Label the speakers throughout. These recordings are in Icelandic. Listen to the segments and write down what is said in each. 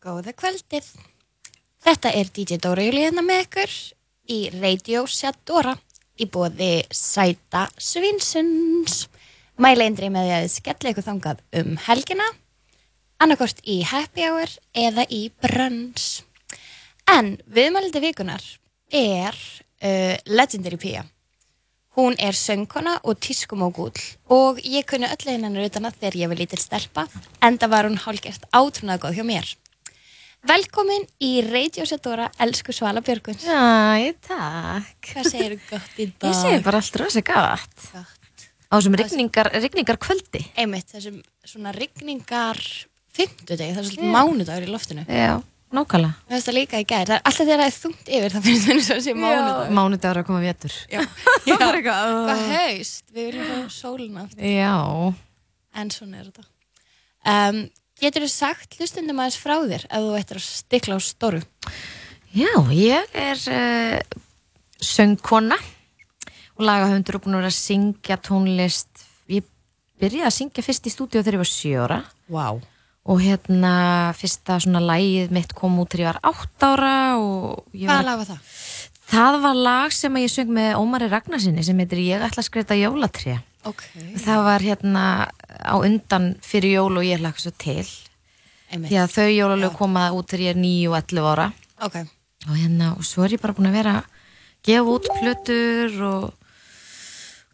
Speaker 1: Góða kvöldið. Þetta er DJ Dóra Júlíðina með ykkur í Radio Sjadóra í bóði Sæta Svinsons. Mæla indri með því að þið skelli ykkur þangað um helgina, annarkort í Happy Hour eða í Brönns. En viðmældi vikunar er uh, Legendary Pia. Hún er söngkona og tískumógúll og ég kunni öll hennar utan að þegar ég var lítil stelpa enda var hún hálgert átrúnað góð hjá mér. Velkomin í Radio Sedora, elsku Svala Björguns.
Speaker 2: Æ, takk.
Speaker 1: Hvað segir þú gott í dag?
Speaker 2: Ég segi bara allt rosa gott.
Speaker 1: gott.
Speaker 2: Á þessum rigningar, rigningar kvöldi.
Speaker 1: Einmitt, þessum svona rigningar fimmtudegi, það er svolítið mánudagur í loftinu.
Speaker 2: Já, nákvæmlega.
Speaker 1: Mér finnst það líka í gær, það er alltaf þegar það er þungt yfir, það finnst það eins og þessi mánudagur.
Speaker 2: Mánudagur að koma vétur.
Speaker 1: Já.
Speaker 2: Það var eitthvað.
Speaker 1: Hvað haust, við viljum fá sólina aftur.
Speaker 2: Já.
Speaker 1: En svona er þetta. Um, getur þú sagt hlustundum aðeins frá þér ef þú ættir að stikla á stóru?
Speaker 2: Já, ég er uh, söngkona og lagahöndur og búin að vera að syngja tónlist. Ég byrjaði að syngja fyrst í stúdíu þegar ég var sjóra.
Speaker 1: Vá. Wow.
Speaker 2: Og hérna, fyrsta svona lægið mitt kom út þegar ég var átt ára og ég var
Speaker 1: Hvað lafa það?
Speaker 2: Það var lag sem að ég söng með Ómari Ragnarsinni sem heitir Ég ætla að skreita jólatré.
Speaker 1: Ok.
Speaker 2: Það var hérna á undan fyrir jól og ég hlakka svo til.
Speaker 1: Einmitt.
Speaker 2: Því að þau jólalög koma út þegar ég er 9 og 11 ára.
Speaker 1: Ok.
Speaker 2: Og hérna, og svo er ég bara búin að vera að gefa út plötur og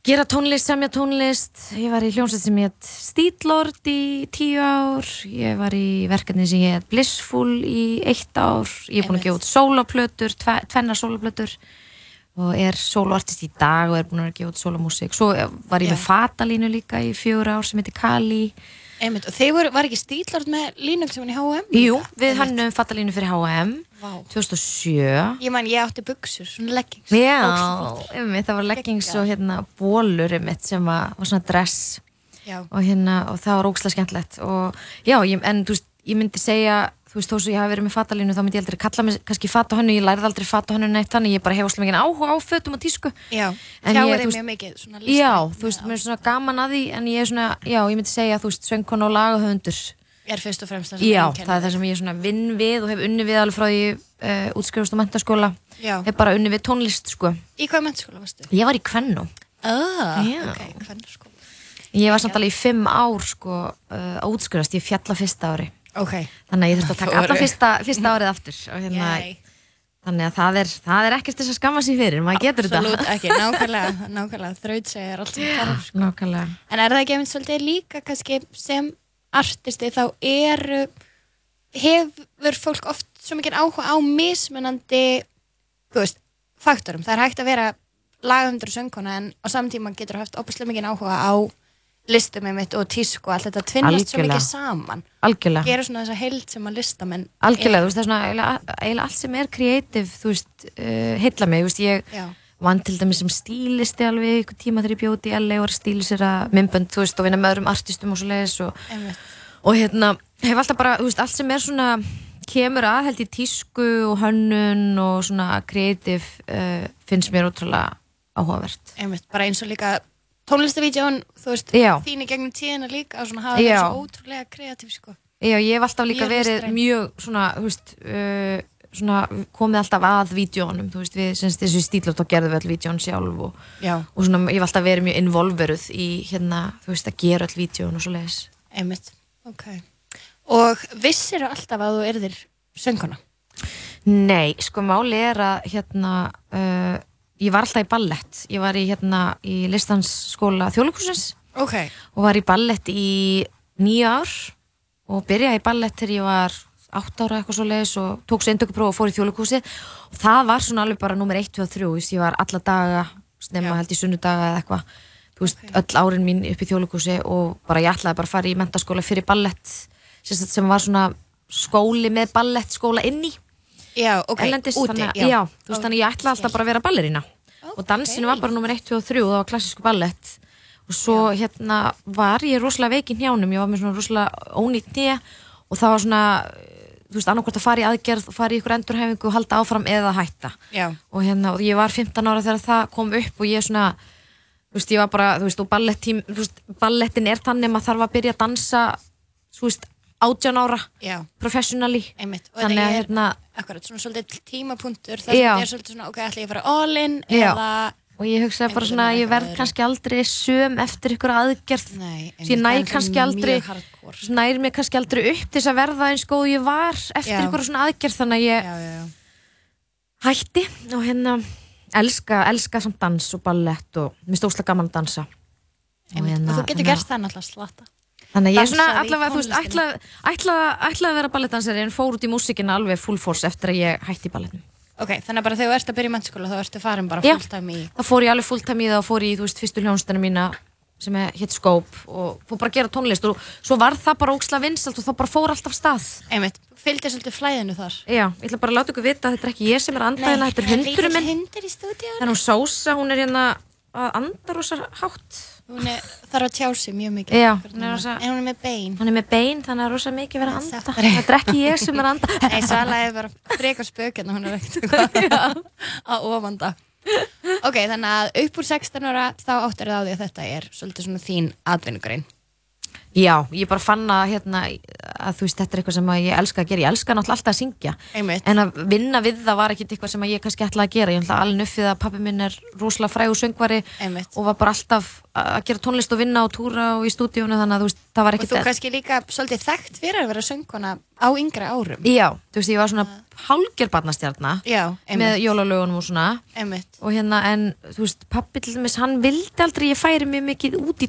Speaker 2: gera tónlist, semja tónlist. Ég var í hljómsveit sem ég hétt Stílord í 10 ár. Ég var í verkefni sem ég hétt Blissful í 1 ár. Ég er búin að gefa út sólaplötur, tve, tvennar sólaplötur og er soloartist í dag og er búin að vera að gefa út sólamúsík. Svo var ég með Fatalínu líka í fjögur ár sem heitir Kali.
Speaker 1: Einmitt, og þeir voru, var ekki stílort með línum sem hann í H&M?
Speaker 2: Jú, við hannum Fatalínu fyrir H&M
Speaker 1: Vá.
Speaker 2: 2007.
Speaker 1: Ég man, ég átti buksur, svona leggings.
Speaker 2: Já,
Speaker 1: Ógeðslega flott.
Speaker 2: einmitt, það var leggings og hérna bólur einmitt sem var, var svona dress
Speaker 1: Já.
Speaker 2: og hérna og það var ógslag skemmtlegt og já, ég, en þú veist, ég myndi segja þú veist, þó svo ég hafi verið með fatalínu þá myndi ég aldrei kalla mig kannski fatahönnu, ég lærði aldrei fatahönnu neitt þannig, ég bara hef óslega mikið áhuga á fötum og tísku
Speaker 1: Já.
Speaker 2: En
Speaker 1: Tjáir
Speaker 2: ég,
Speaker 1: þeim
Speaker 2: þú
Speaker 1: mjög
Speaker 2: veist-
Speaker 1: mikið, svona listar.
Speaker 2: Já, þú veist, mér er svona gaman að því en ég er svona, já, ég myndi segja, þú veist, söngkona og lagahöndur
Speaker 1: Er fyrst og fremst það sem
Speaker 2: Já,
Speaker 1: einkennir
Speaker 2: það er það sem ég svona vinn við og hef unni við alveg frá því uh, útskrifast á mentaskóla
Speaker 1: Já.
Speaker 2: hef bara unni við tónlist, sko
Speaker 1: þig. Í hvað mennskóla varstu?
Speaker 2: Ég var í kvennu
Speaker 1: Ah,
Speaker 2: Já.
Speaker 1: ok, hvernig sko.
Speaker 2: Ég var samt alveg í fimm ár sko uh, að útskjörast, ég fjalla fyrsta ári
Speaker 1: Ok.
Speaker 2: þannig að ég þurfti að taka
Speaker 1: Þóru.
Speaker 2: alla fyrsta, fyrsta árið aftur og hérna,
Speaker 1: Jæ,
Speaker 2: þannig að það er, það er ekkert þess að skamma sér fyrir, maður getur
Speaker 1: absolutt
Speaker 2: þetta
Speaker 1: ekki, nákvæmlega, nákvæmlega, þraut segir allt sem þarf. sko.
Speaker 2: Nákvæmlega
Speaker 1: En er það ekki einmitt svolítið líka kannski sem artisti þá eru, hefur fólk oft svo mikið áhuga á mismunandi, þú veist, faktorum. Það er hægt að vera lagumdur og söngkona en á samtíma getur haft opaslega mikið áhuga á listum einmitt og tísku og allt þetta tvinnast svo
Speaker 2: Algjörlega.
Speaker 1: mikið saman.
Speaker 2: Algjörlega,
Speaker 1: Gera svona þessa heild sem að listamenn.
Speaker 2: algjörlega, þú veist það er svona eiginlega eiginlega allt sem er kreatív, þú veist, uh, heilla mig, þú veist, ég
Speaker 1: Já.
Speaker 2: vann til dæmis sem stílisti alveg ykkur tíma þegar ég bjóti í LA og var að stílisera mymbönd, þú veist, og vinna með öðrum artistum og svo og
Speaker 1: Einmitt.
Speaker 2: og hérna hef alltaf bara, þú veist, allt sem er svona kemur að held í tísku og hönnun og svona kreatív uh, finnst mér ótrúlega áhugavert
Speaker 1: einmitt, bara eins og líka tónlistavídjón, þú veist,
Speaker 2: Já.
Speaker 1: þín í gegnum tíðina líka og svona hafa verið
Speaker 2: Já.
Speaker 1: svo ótrúlega kreatív, sko.
Speaker 2: Já, ég hef alltaf líka
Speaker 1: Mjög
Speaker 2: verið
Speaker 1: listræn.
Speaker 2: mjög svona, þú veist uh, svona komið alltaf að vídjónum, þú veist, við semst þessu stílótt og gerðum við öll vídjón sjálf og,
Speaker 1: Já.
Speaker 2: og svona, ég hef alltaf verið mjög involveruð í hérna, þú veist, að gera öll vídjón og svo leiðis
Speaker 1: Einmitt, ok. Og vissir alltaf að þú erðir sönguna?
Speaker 2: Nei, sko máli er að hérna, uh, ég var alltaf í ballett ég var í, hérna, í listansskóla þjóðleikhúsins
Speaker 1: Ok.
Speaker 2: og var í ballett í nýja ár og byrjaði í ballett þegar ég var átt ára eitthvað svo leiðis og tók svo eindökupróf og fór í þjóðleikhúsi og það var svona alveg bara nummer 1, 2 og 3 þú veist, ég var alla daga, snemma held í sunnudaga eða eitthvað, þú veist, öll árin mín upp í þjóðleikhúsi og bara ég ætlaði bara að fara í mentaskóla fyrir ballett sem, sagt sem var svona skóli með ballettskóla inn í
Speaker 1: Já, ok,
Speaker 2: erlendis,
Speaker 1: úti.
Speaker 2: þannig, já. Já, þú veist, þannig ég ætla alltaf bara að vera ballerína og dansinu var bara nummer 1, 2 og 3 og það var klassísku ballett og svo hérna var ég rosalega veik í njánum ég var með svona rosalega ónýtt nýja og það var svona, eh, þú veist, annarkvort að fara í aðgerð og fara í ykkur endurhæfingu og halda áfram eða hætta
Speaker 1: Já.
Speaker 2: og hérna, og ég var 15 ára þegar það kom upp og ég svona þú veist, ég var bara, þú veist, og ballettim þú veist, ballettin er þannig að maður þarf að byrja að dansa þú veist, átján ára
Speaker 1: já,
Speaker 2: professionally
Speaker 1: einmitt og
Speaker 2: þannig
Speaker 1: þetta
Speaker 2: að
Speaker 1: er
Speaker 2: hérna,
Speaker 1: akkurat svona svolítið tímapunktur þar sem
Speaker 2: Já.
Speaker 1: þetta er svolítið svona, ok, ætla ég að fara all in
Speaker 2: Já.
Speaker 1: eða,
Speaker 2: og ég hugsaði bara
Speaker 1: Einhvern
Speaker 2: svona
Speaker 1: veginn
Speaker 2: ég verð
Speaker 1: öðru.
Speaker 2: kannski aldrei söm eftir ykkur aðgerð
Speaker 1: nei einmitt,
Speaker 2: Svo ég næ
Speaker 1: það er
Speaker 2: kannski
Speaker 1: mjög
Speaker 2: aldrei-
Speaker 1: hardcore. sko.
Speaker 2: Svo nær mér kannski aldrei upp til þess að verða eins góð og ég var eftir
Speaker 1: Já.
Speaker 2: ykkur svona aðgerð þannig að ég
Speaker 1: já, já, já,
Speaker 2: hætti og hérna elska, elska samt dans og ballett og mér stóðslega gaman að dansa hérna,
Speaker 1: einmitt, og þú getur gert það náttúrulega slatta
Speaker 2: Þannig að ég er svona
Speaker 1: dansað í
Speaker 2: allavega, þú veist, ætla,
Speaker 1: tónlistinni.
Speaker 2: ætla, ætla að vera ballettdansari en fór út í músikina alveg full force eftir að ég hætti í ballettin.
Speaker 1: ok, þannig að bara þegar þú ert að byrja í mennskóla þá ertu farin bara
Speaker 2: Já.
Speaker 1: fulltime í
Speaker 2: Þá fór ég alveg fulltime í það og fór í, þú veist, fyrstu hljónstana mína sem hétt Skóp og fór bara að gera tónlist og svo var það bara óksla vinsalt og þá bara fór allt af stað.
Speaker 1: einmitt, fylgdi svolítið flæðinu þar
Speaker 2: Já, ég ætla bara að láta ykkur vita að þetta er ekki ég sem er að anda hérna, þetta er hundurum minn.
Speaker 1: hundur í stúdíu
Speaker 2: Þannig hún Sósa, hún er hérna að anda rosa hátt.
Speaker 1: hún er, þarf að tjá sig mjög mikið
Speaker 2: Já,
Speaker 1: Akkurat
Speaker 2: hún er
Speaker 1: núna.
Speaker 2: rosa-
Speaker 1: en hún er með bein
Speaker 2: Hann er með bein, þannig að rosa mikið verið að anda.
Speaker 1: Sáttari.
Speaker 2: Þetta er ekki ég sem er að anda.
Speaker 1: Nei, Svala er bara frekar spökjarn og hún er ekkert að ofanda Ok, þannig að upp úr 16 ára þá áttir það á því að þetta er svolítið svona þín atvinnugrein
Speaker 2: Já, ég bara fann að, hérna, að þú veist, þetta er eitthvað sem að ég elska að gera, ég elska náttúrulega alltaf að syngja
Speaker 1: Einmitt,
Speaker 2: en að vinna við það var ekkit eitthvað sem að ég kannski ætlaði að gera, ég ætlaði alveg nuffið að pappi minn er rosalega frægur söngvari
Speaker 1: einmitt
Speaker 2: og var bara alltaf að gera tónlist og vinna og túra og í stúdíónu þannig að þú veist, það var
Speaker 1: Og
Speaker 2: ekkit
Speaker 1: þú kannski líka svolítið þekkt fyrir að vera söngkona á yngra árum
Speaker 2: Já, þú veist, ég var svona hálger barnastjarna
Speaker 1: Ah. Já, einmitt,
Speaker 2: með jólalögunum og svona
Speaker 1: einmitt
Speaker 2: og hérna, en þú veist, pappi til dæmis, hann vildi aldrei, að ég færi mjög mikið út í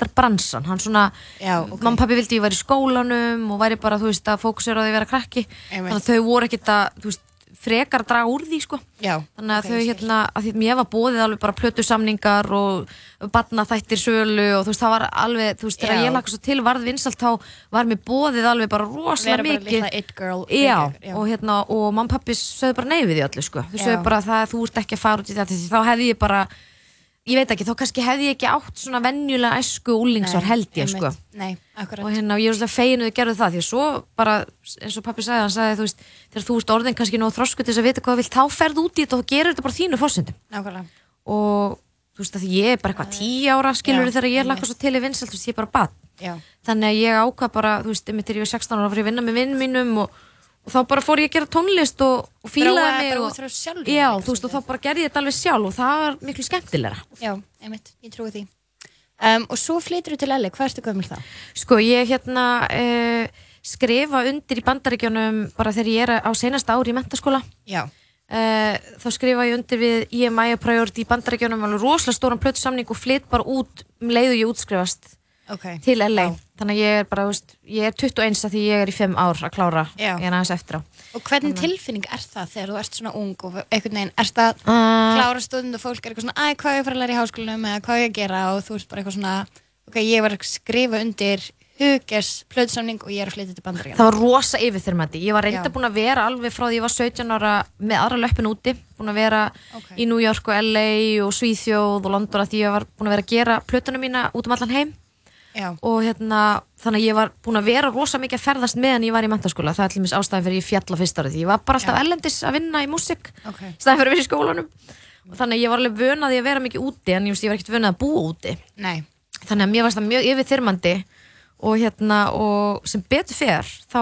Speaker 2: tónlistarbransan, hann svona
Speaker 1: Já, ok,
Speaker 2: Mamma og pappi vildi ég væri í skólanum og væri bara, þú veist, að fókusera á því að vera krakki
Speaker 1: Einmitt.
Speaker 2: þannig að þau voru ekkit að, þú veist, frekar að draga úr því, sko
Speaker 1: já
Speaker 2: þannig að
Speaker 1: ok,
Speaker 2: þau,
Speaker 1: ég skil.
Speaker 2: hérna, að því mér var bóðið alveg bara plötu samningar og batna þættir sölu og þú veist, það var alveg, þú veist, þegar
Speaker 1: Já.
Speaker 2: ég laka svo til varð vinsalt þá var mér bóðið alveg bara rosalega
Speaker 1: Vera bara
Speaker 2: mikið
Speaker 1: litla it girl
Speaker 2: Já,
Speaker 1: frekar, já.
Speaker 2: og hérna, og mamma pappi sögðu bara nei við því öllu, sko. Þau
Speaker 1: Já.
Speaker 2: sögðu bara það að þú ert ekki að fara út í þetta, því þá hefði ég bara, ég veit ekki, þá kannski hefði ég ekki átt svona venjulega æsku úlingsvar
Speaker 1: Nei,
Speaker 2: held ég, sko.
Speaker 1: einmitt. Nei, akkurat
Speaker 2: Og hérna, og ég er svolítið fegin að þau gerðu það, því að svo bara, eins og pappi sagði, hann sagði, þú veist, þegar þú ert orðin kannski nóg þrosku til þess að vita hvað þú vilt, þá ferð út í þetta og þú gerir þetta bara á þínu fórsendum.
Speaker 1: Nákvæmlega
Speaker 2: Og þú veist, að því ég er bara eitthvað tíu ára, skilur þegar ég lakka svo til í vinsælt, þú veist, ég er bara bad
Speaker 1: Já,
Speaker 2: þannig að ég ákvað bara, þú veist, einmitt þegar ég var 16 ára var ég að vinna með vinnum mínum og, og þá bara fór ég að gera tónlist og, og fílaði
Speaker 1: Þróaði
Speaker 2: mig
Speaker 1: bara
Speaker 2: og,
Speaker 1: út frá sjálfum
Speaker 2: já,
Speaker 1: líka
Speaker 2: þú veist, og þá bara gerði ég þetta alveg sjálf og það var miklu skemmtilegra
Speaker 1: já, einmitt, ég trúi því um, Og svo flytur þú til L.A. Hvað ertu gömul þá?
Speaker 2: sko, ég hérna uh, skrifa undir í bandaríkjunum bara þegar ég er á seinasta ári í mentaskóla
Speaker 1: Já,
Speaker 2: Uh, þá skrifa ég undir við EMI og Priority í bandarækjunum alveg rosalega stóran plötusamning og flytt bara út um leið og ég útskrifast
Speaker 1: ok
Speaker 2: til LA þannig að ég er bara, þú veist, ég er 21 að því ég er í 5 ár að klára
Speaker 1: Já.
Speaker 2: ég er aðeins eftir á
Speaker 1: Og hvernig tilfinning er það þegar þú ert svona ung og einhvern veginn ert að
Speaker 2: uh,
Speaker 1: klára stund og fólk er eitthvað svona, æ, hvað á ég að fara að læra í háskólanum eða hvað á ég að gera og þú ert bara eitthvað svona, ok, ég var að skrifa undir hugers plöðsamning og ég er að flytja til bandaríkjana.
Speaker 2: það var rosa yfirþyrmandi ég var reynda
Speaker 1: Já.
Speaker 2: búin að vera alveg frá því ég var 17 ára með aðra löppin úti búin að vera
Speaker 1: Ok.
Speaker 2: í New York og LA og Svíþjóð og London að því ég var búin að vera að gera plötunum mína út um allan heim
Speaker 1: Já,
Speaker 2: og hérna, þannig að ég var búin að vera rosa mikið að ferðast meðan ég var í mentaskóla það er allir mis ástæðan fyrir ég fjalla fyrst árið því ég var bara alltaf ellendis að vinna í músik
Speaker 1: ok,
Speaker 2: staðan fyrir að vera í skólanum og þannig að ég var alveg vönaði að vera mikið úti en ég, veist, ég var ekkert vönaði að búa úti
Speaker 1: nei,
Speaker 2: þannig að mér varst það mjög yfirþyrmandi og hérna og sem betur fer þá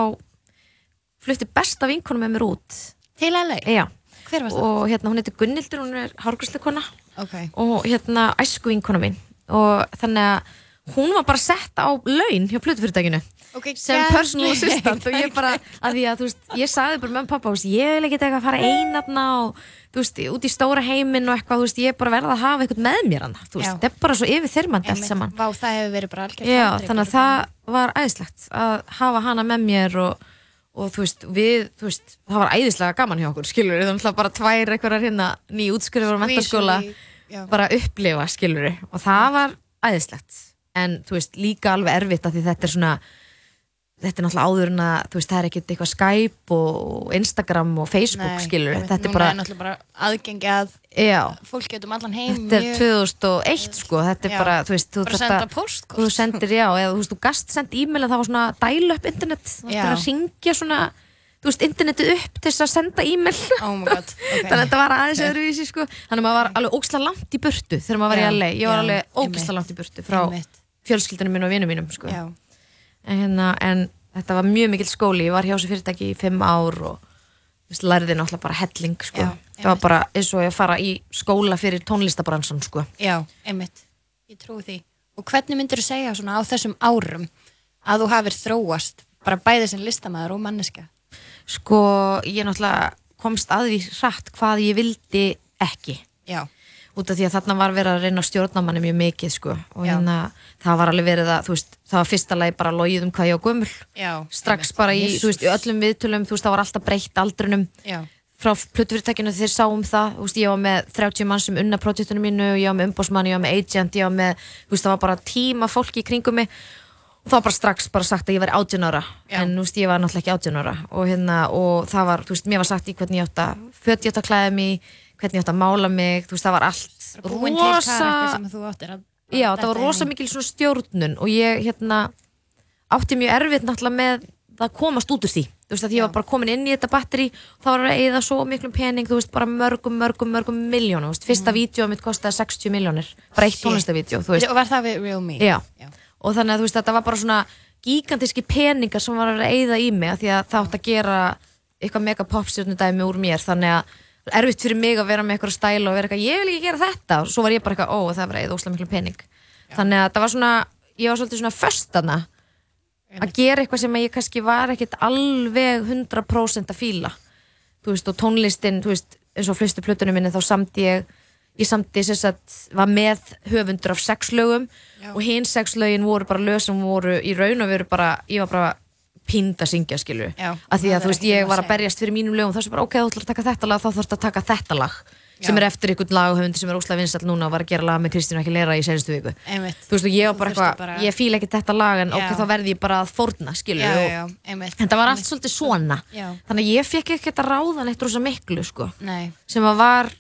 Speaker 2: flutti besta vinkonum með mér út
Speaker 1: til LA.
Speaker 2: já,
Speaker 1: Hver var það?
Speaker 2: og hérna hún heitir Gunnildur hún er hárgræslekona
Speaker 1: Ok,
Speaker 2: og hérna æsku vinkona mín og þannig að hún var bara sett á laun hjá plötufyrirtækinu
Speaker 1: ok,
Speaker 2: sem
Speaker 1: geðveikt.
Speaker 2: personal assistant og ég bara, að því að þú veist, ég sagði bara með pappa, þú veist, ég vil ekki eitthvað að fara einarna og þú veist, út í stóra heiminn og eitthvað, þú veist, ég er bara verða að hafa eitthvað með mér hann, þú veist,
Speaker 1: Já.
Speaker 2: þetta er bara svo yfirþyrmandi allt
Speaker 1: Einmitt.
Speaker 2: saman.
Speaker 1: Vá, það hefur verið bara algjörð.
Speaker 2: Já, þannig að það var æðislegt að hafa hana með mér og, og þú veist, við, þú veist, það var æðislega gaman hjá okkur, skilur við, þannig að bara tvær eitthvað hérna ný útskrifur á mentaskóla
Speaker 1: Já, Mm.
Speaker 2: bara upplifa, skilur við, og það var æðislegt, en þú veist, líka alveg erfitt að því þetta er svona, þetta er náttúrulega áður en að, þú veist, það er ekkert eitthvað Skype og Instagram og Facebook,
Speaker 1: nei,
Speaker 2: skilur við,
Speaker 1: einmitt.
Speaker 2: þetta er
Speaker 1: Núna
Speaker 2: bara,
Speaker 1: náttúrulega bara aðgengi að
Speaker 2: já,
Speaker 1: fólk getum allan heim
Speaker 2: þetta er
Speaker 1: mjög-
Speaker 2: 2001, sko, þetta er
Speaker 1: Já.
Speaker 2: bara, þú veist, þú
Speaker 1: bara
Speaker 2: þarft
Speaker 1: senda
Speaker 2: að-
Speaker 1: postkort
Speaker 2: þú sendir, já, eða þú veist, þú gast send e-mail en það var svona dial up internet þú
Speaker 1: Já.
Speaker 2: ættir að ringja svona, þú veist, internetið upp til þess að senda e-mail
Speaker 1: oh my god,
Speaker 2: þannig að
Speaker 1: ok
Speaker 2: þetta var aðeins öðruvísi, sko þannig að maður var alveg ógisla langt í burtu þegar maður var
Speaker 1: Já,
Speaker 2: í LA, ég var
Speaker 1: já,
Speaker 2: alveg
Speaker 1: einmitt.
Speaker 2: ógisla langt í burtu frá
Speaker 1: Einmitt.
Speaker 2: fjölskyldunum minn og vinum mínum, sko
Speaker 1: já,
Speaker 2: en, hérna, en þetta var mjög mikill skóli, ég var hjá þessu fyrirtæki í fimm ár og þú veist, lærði náttúrulega bara helling sko.
Speaker 1: Já,
Speaker 2: það var bara eins og ég að fara í skóla fyrir tónlistabransan sko.
Speaker 1: Já, einmitt, ég trúi því Og hvernig myndir þú segja svona á þessum árum að þú hafir þróast bara bæði sem listamaður og manneska
Speaker 2: sko ég náttúrulega komst að því hratt hvað ég vildi ekki
Speaker 1: Já,
Speaker 2: út af því að þarna var verið að reyna að stjórna manni mjög mikið sko og
Speaker 1: Já.
Speaker 2: hérna það var alveg verið að þú veist það var fyrsta lagi bara logið um hvað ég á gömul
Speaker 1: já
Speaker 2: strax bara í, þú veist, í öllum viðtölum þú veist það var alltaf breytt aldrunum
Speaker 1: Já,
Speaker 2: frá plötufyrirtækinu þeir sáum það þú veist, ég var með 30 mann sem unna projektunum mínu ég var með umbósmann, ég var með agent ég var með, þú veist, það var bara tíma fólki í kringum mig og það var bara strax bara sagt að ég væri 18 ára
Speaker 1: Já.
Speaker 2: en þú veist, ég var náttúrulega ekki 18 ára og hérna, og það var, þú veist, mér var sagt í hvernig ég átt að föt ég átt að klæða mig hvernig ég átt að mála mig, þú veist, það var allt
Speaker 1: búin til karakter sem þú áttir að
Speaker 2: já, það var
Speaker 1: detta inn
Speaker 2: rosa
Speaker 1: í.
Speaker 2: mikil svona stjórnun og ég, hérna átti mjög erfitt náttúrulega með það að komast út úr því, þú veist að ég var bara komin inn í þetta batteri, þá var að eigða svo miklum pening, þú veist bara mörgum, mörgum, mörgum miljónum, þú veist, fyrsta mm. vídeo mitt kostaði 60 miljónir, bara eitt
Speaker 1: Shit.
Speaker 2: tónlistavídeó, þú veist,
Speaker 1: Og var það við Real Me?
Speaker 2: já.
Speaker 1: Já.
Speaker 2: og þannig að þú veist þetta var bara svona gigantíski peningar sem var að vera að eigða í mig af því að það átt að gera eitthvað mega popstjórnudæmi úr mér, þannig að erfitt fyrir mig að vera með eitthvað stæla og vera eitthvað, ég vil ekki gera þetta, og svo var ég bara eitthvað, ó, það var að eigða óslega miklu pening, þannig að það var svona, ég var svolítið svona föstana, að gera eitthvað sem ég kannski var ekkit alveg 100% að fíla þú veist, og tónlistin, þú veist eins og flestu plötunum minni þá samdi ég ég samdi þess að var með höfundur af sex lögum
Speaker 1: Já.
Speaker 2: og hinn sex lögin voru bara lög sem voru í raun og veru bara, ég var bara pínd að syngja skilu,
Speaker 1: Já,
Speaker 2: að því
Speaker 1: það er
Speaker 2: að þú veist
Speaker 1: ekki um
Speaker 2: ég
Speaker 1: að
Speaker 2: var að
Speaker 1: segja.
Speaker 2: berjast fyrir mínum lögum þá sem bara ok, þú ætlar að taka þetta lag, þá þarfst að taka þetta lag sem
Speaker 1: Já.
Speaker 2: er eftir einhvern lagahöfund sem er óslega vinsall núna og var að gera lag með Kristínu ekki í senstu viku
Speaker 1: Einmitt.
Speaker 2: þú veist og ég var
Speaker 1: Þú
Speaker 2: bara
Speaker 1: þurftir
Speaker 2: eitthvað,
Speaker 1: bara-
Speaker 2: ég fíla ekki þetta lag en ok,
Speaker 1: Já.
Speaker 2: þá verði ég bara að fórna skilur
Speaker 1: Já, já,
Speaker 2: og-
Speaker 1: já, einmitt
Speaker 2: en það var allt svolítið svona
Speaker 1: Já.
Speaker 2: þannig að ég fekk ekkert að ráða neitt rosa miklu sko,
Speaker 1: Nei,
Speaker 2: sem að var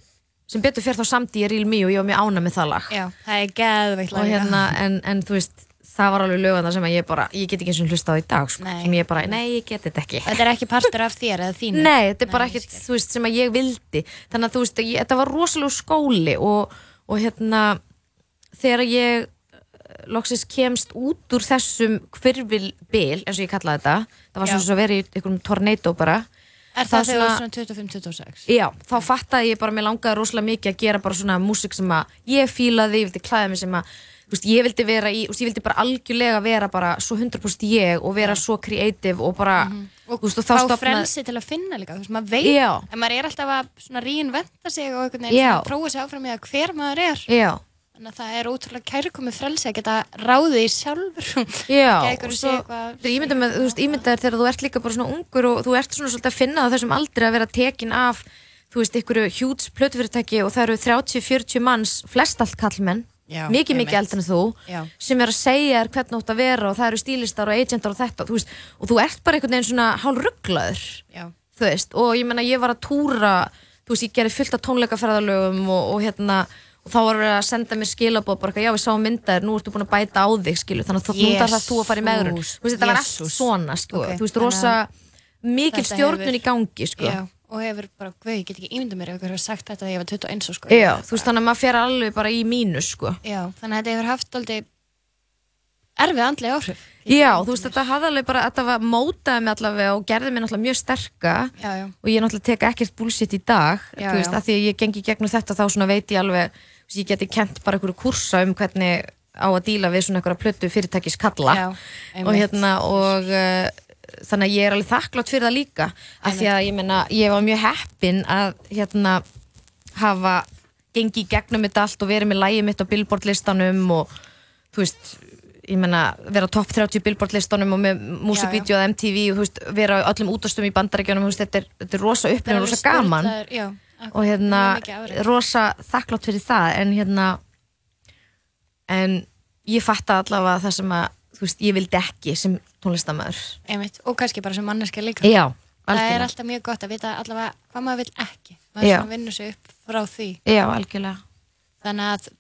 Speaker 2: sem betur fyrir þá samt ég ríl mig og ég var mjög ána með það lag
Speaker 1: já, það er geðveikt
Speaker 2: og
Speaker 1: lag, já.
Speaker 2: hérna, en, en þú veist það var alveg lögana sem að ég bara, ég get ekki eins og hlusta á í dag sko,
Speaker 1: Nei.
Speaker 2: sem ég bara, nei ég get þetta ekki
Speaker 1: Þetta er ekki partur af þér eða þínu
Speaker 2: Nei, þetta er bara
Speaker 1: Nei, ég
Speaker 2: ekkert, þú veist, sem að ég vildi þannig að þú veist, ég, þetta var rosalega skóli og, og hérna þegar ég eh, loksins kemst út úr þessum hvirfilbil, eins og ég kallaði þetta það var
Speaker 1: Já.
Speaker 2: svona svo verið í einhverjum tornado bara
Speaker 1: Er
Speaker 2: það
Speaker 1: það þegar þú
Speaker 2: svona-
Speaker 1: ert svona 25-26?
Speaker 2: Já, þá fattaði ég bara, mér langaði rosalega mikið að gera bara svona músik sem að ég fílaði, ég vildi klæða mig sem að, þú veist, ég vildi vera í, þú veist, ég vildi bara algjörlega vera bara svo 100% ég og vera svo creative og bara,
Speaker 1: Mhm. og
Speaker 2: þú veist, og
Speaker 1: fá
Speaker 2: þá stofnaði-
Speaker 1: frelsi til að finna líka þú veist, maður veit,
Speaker 2: Já.
Speaker 1: en maður er alltaf að svona reinventa sig og einhvern
Speaker 2: Já.
Speaker 1: veginn svona prófa sig áfram í að hver maður er
Speaker 2: Já,
Speaker 1: þannig að það er ótrúlega kærkomið frelsi að geta ráðið í sjálfur
Speaker 2: Já,
Speaker 1: Ekki að einhverju
Speaker 2: og
Speaker 1: sé
Speaker 2: svo,
Speaker 1: eitthvað-
Speaker 2: þetta er ímyndað með, þú veist, ímyndað er þegar þú ert líka bara svona ungur og þú ert svona svolítið að finna það þessum aldrei að vera tekin af, þú veist, einhverju hjúts plötufyrirtæki og það eru 30-40 manns, flest allt kallmenn,
Speaker 1: Já,
Speaker 2: mikið mikið
Speaker 1: einmitt.
Speaker 2: eldri en þú,
Speaker 1: Já.
Speaker 2: sem er að segja þér hvernig þú átt að vera og það eru stílistar og agentar og þetta, þú veist, og þú ert bara einhvern veginn svona hálrugglaður,
Speaker 1: Já.
Speaker 2: þú veist, og ég menna ég var að túra, þú veist, ég gerði fullt af tónleikaferðalögum og, og hérna, og þá var verið að senda mér skilabóð bara eitthvað, já við sáum myndaðir, nú ertu búin að bæta á þig skilu, þannig að yes. nú þarf það þú að fara í megrun
Speaker 1: Jesús,
Speaker 2: þú veist, þetta var allt
Speaker 1: Jesús.
Speaker 2: svona sko,
Speaker 1: Ok,
Speaker 2: þú veist,
Speaker 1: þannig
Speaker 2: rosa
Speaker 1: að-
Speaker 2: mikil
Speaker 1: Þetta
Speaker 2: stjórnun
Speaker 1: hefur-
Speaker 2: í gangi sko.
Speaker 1: Já, og hefur bara, guð, ég get ekki ímynda mér ef ykkur hefur sagt þetta að ég var 21 sko.
Speaker 2: Já, þú veist, þannig að maður fer alveg bara í mínus sko.
Speaker 1: Já, þannig að þetta hefur haft aldrei erfið andlega áhrif
Speaker 2: já, þú veist, þetta hafði alveg bara þetta var mótaði mig allavega og gerði mig náttúrulega mjög sterka
Speaker 1: Já, já,
Speaker 2: og ég náttúrulega tek ekkert bullshit í dag
Speaker 1: Já,
Speaker 2: þú veist,
Speaker 1: já.
Speaker 2: að því að ég gengi í gegnum þetta þá svona veit ég alveg, þú veist, ég geti kent bara einhverju kursa um hvernig á að díla við svona einhverja plötu fyrirtækis kalla
Speaker 1: Já, einmitt.
Speaker 2: og hérna og uh, þannig að ég er alveg þakklátt fyrir það líka af því að ég meina, ég var mjög heppin að hérna hafa gengi í gegnum þetta allt og verið með lægið mitt á Billboard listanum og þú veist, ég meina vera á topp 30 Billboard listanum og með músikvídeó að MTV og þú veist, vera á öllum útastum í bandarækjunum, þú veist, þetta er, þetta er rosa
Speaker 1: Það er
Speaker 2: upplifun,
Speaker 1: alveg
Speaker 2: rosa gaman
Speaker 1: sturlaður- já, akkurat,
Speaker 2: og hérna
Speaker 1: mjög mikið afrek.
Speaker 2: rosa þakklátt fyrir það en hérna en ég fatta allavega það sem að þú veist, ég vildi ekki sem tónlistamæður
Speaker 1: Einmitt, og kannski bara sem manneska líka
Speaker 2: Já,
Speaker 1: það er
Speaker 2: algjörlega
Speaker 1: alltaf mjög gott að vita allavega hvað maður vil ekki maður
Speaker 2: Já.
Speaker 1: svona vinnur sig upp frá því
Speaker 2: Já, algjörlega
Speaker 1: þannig að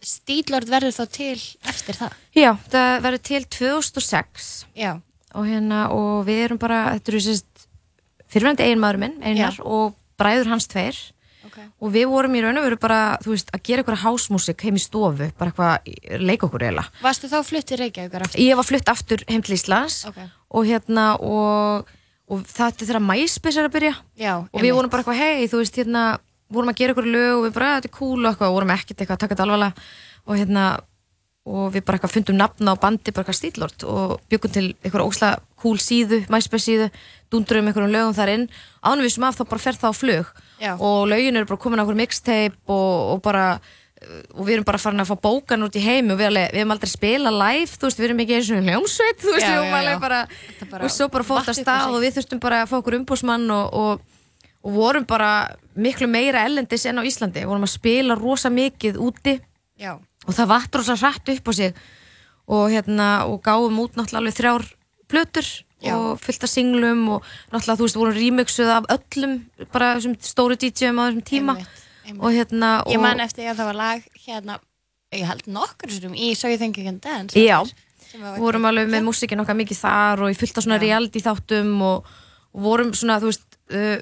Speaker 1: stílord verður þá til eftir það
Speaker 2: Já, það verður til 2006
Speaker 1: já,
Speaker 2: og hérna og við erum bara, þetta eru sérst fyrirvændi eiginmaður minn, einar og bræður hans tveir
Speaker 1: ok, Ok.
Speaker 2: og við vorum í raun og veru bara, þú veist, að gera einhverja hásmúsik heim í stofu, bara eitthvað leika okkur eiginlega
Speaker 1: Varstu þá flutt í Reykjavíkur aftur?
Speaker 2: ég var flutt aftur heim til Íslands
Speaker 1: Ok.
Speaker 2: og hérna og, og þetta er þegar MySpace er að byrja
Speaker 1: Já,
Speaker 2: og
Speaker 1: einmitt.
Speaker 2: við vorum bara eitthvað hei, þú veist hérna vorum að gera ykkur lög og við bara, "Ja, þetta er cool og eitthvað, og vorum ekkert eitthvað að taka þetta alvarlega og hérna, og við bara eitthvað fundum nafna á bandi, bara eitthvað stílort og byggum til eitthvað ósla cool síðu MySpace síðu, dundrum einhverjum lögum þar inn ánum við sem af þá bara fer það á flug
Speaker 1: Já.
Speaker 2: og lögin eru bara komin á okkur mixtape og, og bara uh, og við erum bara farin að fá bókan út í heim og við, alveg, við erum aldrei að spila live, þú veist, við erum ekki eins og hljómsveit, þú veist,
Speaker 1: Já,
Speaker 2: við
Speaker 1: já,
Speaker 2: erum
Speaker 1: já.
Speaker 2: alveg bara,
Speaker 1: Þetta bara
Speaker 2: og svo bara fór
Speaker 1: vatt
Speaker 2: þetta
Speaker 1: upp á sig.
Speaker 2: stað og við þurftum bara að fá okkur umbúsmann og, og, og vorum bara miklu meira ellendis en á Íslandi, vorum að spila rosa mikið úti
Speaker 1: Já,
Speaker 2: og það vatt rosa hratt upp á sig og hérna, og gáum út náttúrulega alveg þrjár plötur
Speaker 1: Já.
Speaker 2: og fullt af singlum og náttúrulega þú veist, vorum remixuð af öllum bara þessum stóru DJ-um á þessum tíma
Speaker 1: Einmitt, einmitt.
Speaker 2: og hérna
Speaker 1: ég
Speaker 2: og-
Speaker 1: man eftir ég að það var lag hérna, ég held nokkur sérum í So You Think You Can Dance
Speaker 2: Já.
Speaker 1: sem var-
Speaker 2: vorum alveg með músikinn okkar mikið þar og ég fylgta svona reality þáttum og, og vorum svona, þú veist uh,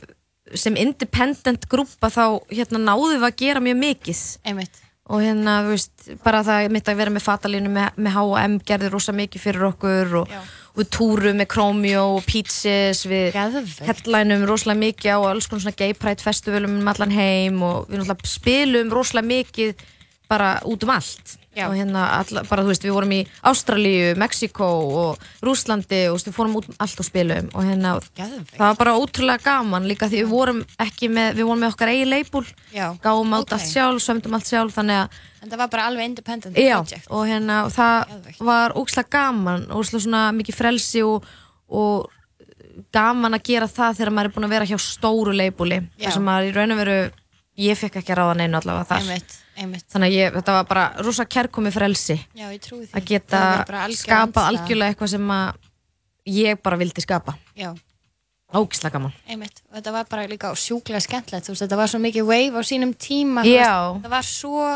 Speaker 2: sem independent grúpa þá hérna náðum við að gera mjög mikið
Speaker 1: Einmitt,
Speaker 2: og hérna, þú veist, bara það mitt að vera með fatalínu með, með H&M gerði rosa mikið fyrir okkur og,
Speaker 1: Já.
Speaker 2: og við túrum með Chromio og Peaches við
Speaker 1: Geðveikt.
Speaker 2: headlænum rosalega mikið á alls konar svona gay pride festivalum um allan heim og við náttúrulega spilum rosalega mikið bara út um allt
Speaker 1: Já.
Speaker 2: og hérna, alla, bara þú veist, við vorum í Ástralíu, Mexíkó og Rúslandi og þú veist, við fórum út um allt og spilum og hérna,
Speaker 1: Geðveikt.
Speaker 2: það var bara ótrúlega gaman líka því við vorum ekki með, við vorum með okkar eigi leipúl,
Speaker 1: Já.
Speaker 2: gáum allt
Speaker 1: Ókei.
Speaker 2: allt sjálf, sömdum allt sjálf, þannig að
Speaker 1: en það var bara alveg independent
Speaker 2: Já,
Speaker 1: project
Speaker 2: og hérna og það
Speaker 1: Geðveikt.
Speaker 2: var ókslega gaman ókslega svona mikið frelsi og, og gaman að gera það þegar maður er búin að vera hjá stóru leibúli
Speaker 1: Já.
Speaker 2: þar sem maður í raun og veru ég fekk ekki að ráða neinu allavega þar
Speaker 1: Einmitt, einmitt
Speaker 2: þannig að ég, þetta var bara rosa kærkomi frelsi
Speaker 1: Já, ég trúi því
Speaker 2: að geta
Speaker 1: Það var bara algjör
Speaker 2: skapað
Speaker 1: andstæða.
Speaker 2: algjörlega eitthvað sem að ég bara vildi skapa
Speaker 1: Já,
Speaker 2: ókslega gaman
Speaker 1: einmitt, og þetta var bara líka sjúklega skemmtilegt, þú veist, þetta var svo mikið wave á sínum tíma, þú
Speaker 2: Já.
Speaker 1: veist, það var svo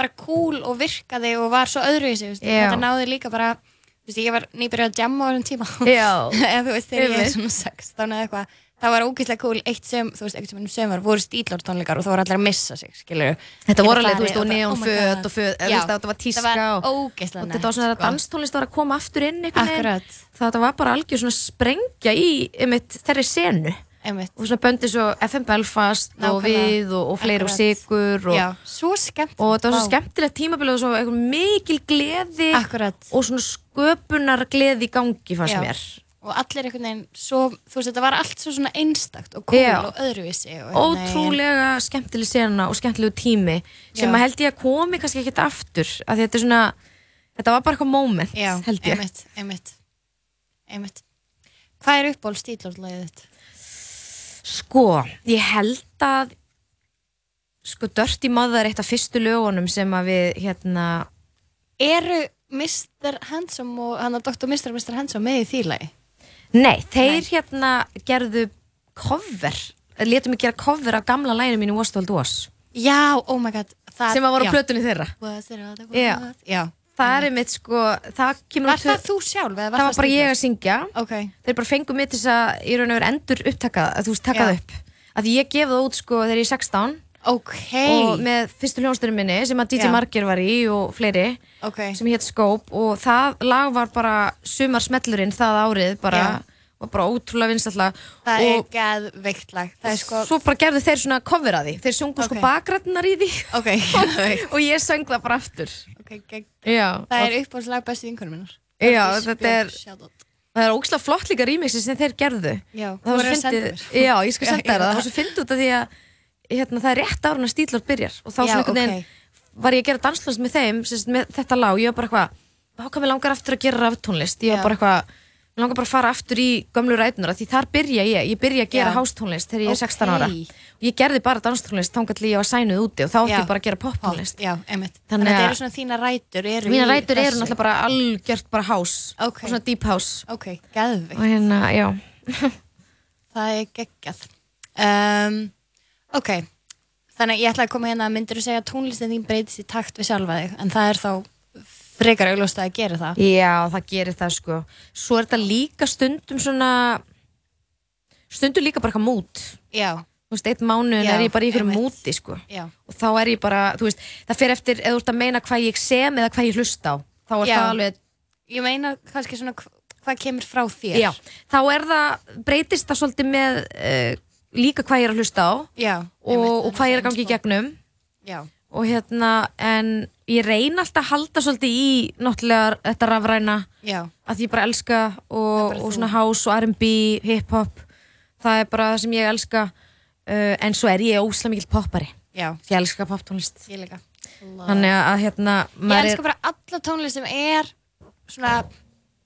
Speaker 1: bara cool og virkaði og var svo öðruvísi, þú veist,
Speaker 2: Já.
Speaker 1: þetta náði líka bara þú veist, ég var nýbyrjuð að jamma á þessum tíma
Speaker 2: Já.
Speaker 1: eða þú veist, þegar ég er
Speaker 2: Einmitt.
Speaker 1: svona 16 eða eitthvað, það var ógeðslega cool eitt sem, þú veist, eitt sem sömur voru stílor tónleikar og það voru allir að missa sig, skilur
Speaker 2: Þetta voru alveg, þú veist, og
Speaker 1: oh
Speaker 2: neon föt og föt, eða þú veist, þetta var tíska
Speaker 1: það
Speaker 2: og-
Speaker 1: var ógeðslega sko.
Speaker 2: og þetta var svona þegar danstónlist var að koma aftur inn einhvern
Speaker 1: Akkurat.
Speaker 2: veginn, þetta var bara algjör svona sprengja í einmitt, þeirri senu
Speaker 1: einmitt,
Speaker 2: og svona böndi svo FM Belfast og
Speaker 1: Nákvæmlega.
Speaker 2: við og, og fleiri og
Speaker 1: Akkurat.
Speaker 2: sigur og,
Speaker 1: já, svo skemmt
Speaker 2: og þetta var svo skemmtilegt tímabilið og svo einhver mikil gleði
Speaker 1: Akkurat.
Speaker 2: og svona sköpunar gleði í gangi fannst
Speaker 1: Já.
Speaker 2: mér
Speaker 1: og allir einhvern veginn svo, þú veist, þetta var allt svo svona einstakt og cool
Speaker 2: Já.
Speaker 1: og öðruvísi og einhvern veginn-
Speaker 2: ótrúlega skemmtileg sena og skemmtilegu tími sem
Speaker 1: Já.
Speaker 2: að held ég að komi kannski ekkert aftur að þetta er svona, þetta var bara eitthvað moment
Speaker 1: já,
Speaker 2: held ég
Speaker 1: einmitt, einmitt, einmitt. hvað er uppból stílortlegið þitt?
Speaker 2: Sko, ég held að sko Dirty Mother er eitt af fyrstu lögunum sem að við hérna
Speaker 1: eru Mr. Handsome og hann að Dr. Mr. og Mr. Handsome með í þýrlegi?
Speaker 2: Nei, þeir hérna gerðu cover, letum mig gera cover af gamla læginu mínu Was Told Was
Speaker 1: já, oh my god það,
Speaker 2: sem að voru
Speaker 1: já.
Speaker 2: á plötunni þeirra
Speaker 1: Was there other
Speaker 2: Já.
Speaker 1: world? já.
Speaker 2: Það er einmitt sko, það kemur
Speaker 1: var
Speaker 2: út-
Speaker 1: það þú sjálf? eða
Speaker 2: það var bara ég
Speaker 1: Sniglar?
Speaker 2: að syngja
Speaker 1: ok,
Speaker 2: þeir bara fengu mig til þess að í raun og veru endur upptaka það, þú veist, taka
Speaker 1: Já.
Speaker 2: það upp að því ég gef það út sko þegar ég er 16
Speaker 1: ok
Speaker 2: og með fyrstu hljónsturinn minni sem að DJ
Speaker 1: Já.
Speaker 2: Marger var í og fleiri
Speaker 1: ok,
Speaker 2: sem hétt Skóp og það lag var bara sumarsmellurinn það árið bara, var bara ótrúlega vinstalla
Speaker 1: það er
Speaker 2: og
Speaker 1: geðveikt lag það er sko,
Speaker 2: svo bara gerðu þeir svona cover að því þeir sungu
Speaker 1: Ok.
Speaker 2: sko bakrætnar í því
Speaker 1: ok geðveikt.
Speaker 2: og ég söng það bara aftur
Speaker 1: ok, gegn
Speaker 2: Já,
Speaker 1: Það
Speaker 2: og
Speaker 1: er uppáhaldslag bestu vinkunum minnar
Speaker 2: Já, þetta er-
Speaker 1: Shoutout.
Speaker 2: það er ógislega flott líka rýmixi sem þeir gerðu
Speaker 1: Já,
Speaker 2: það var
Speaker 1: þú verður
Speaker 2: svo
Speaker 1: að senda
Speaker 2: fyndið-
Speaker 1: mér.
Speaker 2: Já, ég skal
Speaker 1: Já,
Speaker 2: senda
Speaker 1: já.
Speaker 2: þér það, það var svo fyndið út af því að hérna, það er rétt árun að stílort byrjar og þá
Speaker 1: Já,
Speaker 2: svona einhvern veginn
Speaker 1: ok.
Speaker 2: var ég að gera danslunst með þeim sem sagt, með þetta lag, ég var bara eitthvað hvað hvað mér langar aftur að gera raftónlist ég
Speaker 1: Já.
Speaker 2: var bara eitthvað, mér langar bara að fara aftur í gömlu rætunar, því þar byrja ég ég byrja að gera
Speaker 1: Já.
Speaker 2: hástónlist þegar ég er
Speaker 1: Ok.
Speaker 2: 16 ára og ég gerði bara danstónlist þangað til ég var sænuð úti og þá átti
Speaker 1: Já.
Speaker 2: ég bara að gera poptónlist
Speaker 1: Já, einmitt Þannig,
Speaker 2: Þannig
Speaker 1: að þetta
Speaker 2: að-
Speaker 1: eru svona þína rætur eru í
Speaker 2: mína rætur eru
Speaker 1: þessu.
Speaker 2: náttúrulega bara algjört bara hás
Speaker 1: Ok.
Speaker 2: og svona deep house
Speaker 1: Ok, geðvikt
Speaker 2: og hérna, já
Speaker 1: Það er geggjað um, Ok Þannig að ég ætla að koma hérna Myndirðu segja að tónlistin þín breytist í takt við sjálfa þig En það er þá frekar augljóst að gera það
Speaker 2: Já, það gerir það sko Svo er þetta líka stundum svona Stundum líka bara eitthvað mút
Speaker 1: Já,
Speaker 2: þú veist, eitt mánuðin
Speaker 1: Já,
Speaker 2: er ég bara í einhverjum
Speaker 1: einmitt.
Speaker 2: múti sko.
Speaker 1: Já.
Speaker 2: og þá er ég bara, þú veist, það fer eftir eða þú ert að meina hvað ég sem eða hvað ég hlusta á þá er
Speaker 1: Já.
Speaker 2: það alveg,
Speaker 1: Ég meina kannski svona hv- hvað kemur frá þér.
Speaker 2: já, þá er það breytist það svolítið með uh, líka hvað ég er að hlusta á
Speaker 1: Já.
Speaker 2: og, og hvað ég er að
Speaker 1: sko.
Speaker 2: gangi í gegnum
Speaker 1: Já.
Speaker 2: og hérna, en ég reyna alltaf að halda svolítið í náttúrulega þetta rafræna
Speaker 1: Já.
Speaker 2: að ég bara elska og,
Speaker 1: bara
Speaker 2: og
Speaker 1: þú.
Speaker 2: svona house og R&B, hip-hop það er bara það sem ég elska uh, en svo er ég óslega mikill poppari
Speaker 1: Já.
Speaker 2: því ég elska poptónlist
Speaker 1: Ég líka.
Speaker 2: þannig að hérna
Speaker 1: Ég
Speaker 2: maður
Speaker 1: elska bara alla tónlist sem er svona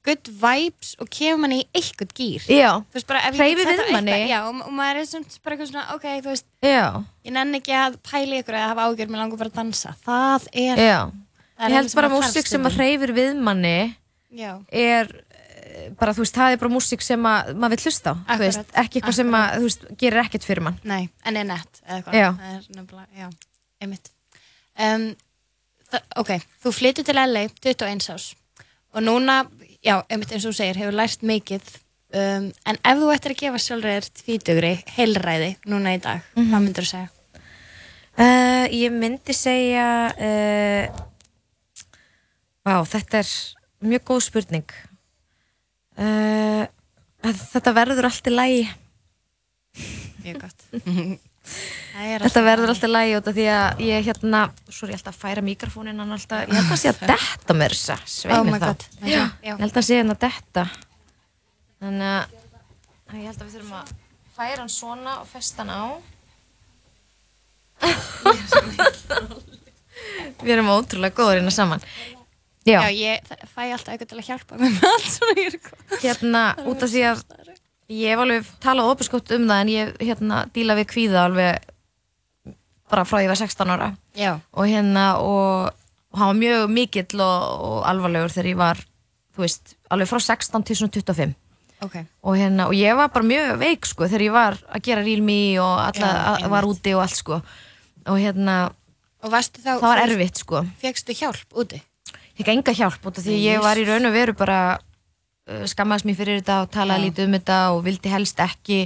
Speaker 1: good vibes og kemur manni í eitthvað gýr.
Speaker 2: er, já,
Speaker 1: Þú veist bara ef ég
Speaker 2: Hreyfir
Speaker 1: get sagt
Speaker 2: við
Speaker 1: það
Speaker 2: manni.
Speaker 1: eitthvað- Já, og, og maður er samt bara eitthvað svona, ok, þú veist,
Speaker 2: já,
Speaker 1: ég nenni ekki að pæla í ykkur eða hafa ágjör, mér langar bara að dansa. Það er...
Speaker 2: já
Speaker 1: það er
Speaker 2: ég
Speaker 1: alveg
Speaker 2: held
Speaker 1: sem
Speaker 2: bara
Speaker 1: að
Speaker 2: músík
Speaker 1: þarf
Speaker 2: sem að
Speaker 1: stundum.
Speaker 2: hreyfir við manni
Speaker 1: Já.
Speaker 2: er eh, bara þú veist, það er bara músík sem að maður vil hlusta á, þú
Speaker 1: Akkurat,
Speaker 2: veist, ekki eitthvað sem að þú veist, gerir ekkert fyrir mann
Speaker 1: Nei, en er nett eða eitthvað.
Speaker 2: Já.
Speaker 1: Það er nefnilega, já, einmitt. Um, það- ok, þú flyttur til LA 21 ás og núna, já, einmitt eins og þú segir, hefur lært mikið um, en ef þú ættir að gefa sjálfur þér tvítugri heilræði núna í dag, hvað
Speaker 2: Mhm.
Speaker 1: myndur þú segja?
Speaker 2: Uh, ég myndi segja uh, Vá, þetta er mjög góð spurning uh, að Þetta verður allt í lægi
Speaker 1: Mjög gott. Það er
Speaker 2: Þetta
Speaker 1: alltaf-
Speaker 2: verður allt í lægi út af því að ég hérna Svo er ég alltaf að færa mikrofónin hann alltaf Ég held að sé að detta mér þess að
Speaker 1: Oh
Speaker 2: sveimi
Speaker 1: my god.
Speaker 2: það
Speaker 1: Já. Já.
Speaker 2: Ég held að sé hann að detta Þannig að að ég held að við þurfum að færa hann svona og festa hann á Við erum ótrúlega góður hérna saman Já,
Speaker 1: já, ég þa- fæ alltaf eitthvað til að hjálpa mér með allt svona ég er eitthvað.
Speaker 2: hérna út af því að ég hef alveg talað opiskott um það en ég hérna díla við kvíða alveg bara frá ég var 16 ára
Speaker 1: Já,
Speaker 2: og hérna og, og hann var mjög mikill og, og alvarlegur þegar ég var þú veist, alveg frá 16 til svona 25
Speaker 1: ok.
Speaker 2: og, hérna, og ég var bara mjög veik sko þegar ég var að gera rílmi og alla,
Speaker 1: Já,
Speaker 2: að, var úti og allt sko og hérna,
Speaker 1: Og varstu þá,
Speaker 2: það var erfitt sko
Speaker 1: fegstu hjálp úti?
Speaker 2: ég enga hjálp út af því að
Speaker 1: Nei,
Speaker 2: ég var í
Speaker 1: Jesus.
Speaker 2: raun og veru bara uh, skammaðist mér fyrir þetta og talaði
Speaker 1: Já.
Speaker 2: lítið um þetta og vildi helst ekki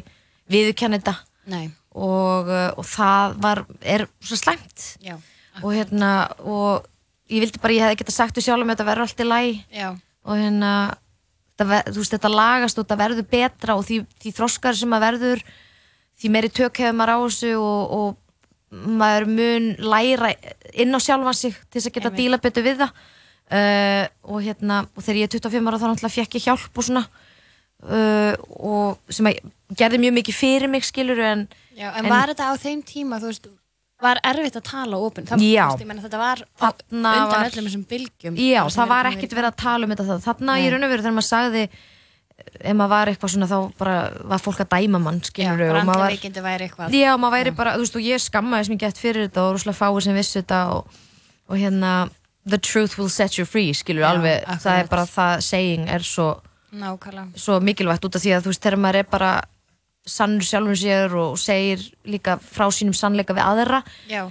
Speaker 2: viðurkenna þetta
Speaker 1: Nei,
Speaker 2: og, uh, og það var, er svo slæmt
Speaker 1: já,
Speaker 2: og hérna og ég vildi bara, ég hefði geta sagt við sjálfum þetta verður allt í læg
Speaker 1: já,
Speaker 2: og hérna þetta ver- þú veist, þetta lagast og þetta verður betra og því, því þroskar sem að verður því meiri tök hefur maður á þessu og, og maður mun læra inn á sjálfan sig til þess að geta
Speaker 1: Einmitt.
Speaker 2: díla betur við það uh, og hérna, og þegar ég er 25 ára þá náttúrulega fekk ég hjálp og svona uh, og sem að gerði mjög mikið fyrir mig skilur en
Speaker 1: já. En,
Speaker 2: En-
Speaker 1: var þetta á þeim tíma, þú veist, var erfitt að tala opinn?
Speaker 2: Já.
Speaker 1: Þú veist, ég menna þetta var á-
Speaker 2: Þarna
Speaker 1: undan
Speaker 2: var-
Speaker 1: öllum þessum bylgjum.
Speaker 2: Já,
Speaker 1: sem
Speaker 2: það
Speaker 1: eru
Speaker 2: var
Speaker 1: komið
Speaker 2: ekkert
Speaker 1: í-
Speaker 2: verið að tala um þetta það. Þannig að
Speaker 1: Nei.
Speaker 2: ég raun og veru þegar maður sagði eh, ef maður var eitthvað svona þá bara var fólk að dæma mann,
Speaker 1: Já,
Speaker 2: skilur og maður var,
Speaker 1: brandaveikindi væri eitthvað.
Speaker 2: já, maður væri bara, þú veist, og ég skammaði sem ég gett fyrir þetta og rúslega fáið sem vissu þetta og, og hérna, the truth will set you free skilur
Speaker 1: Já,
Speaker 2: alveg, það
Speaker 1: akkurat.
Speaker 2: er bara það saying er svo,
Speaker 1: Nákvæmlega.
Speaker 2: svo mikilvægt út af því að þú veist, þegar maður er bara sannur sjálfum sér og segir líka frá sínum sannleika við aðra
Speaker 1: Já,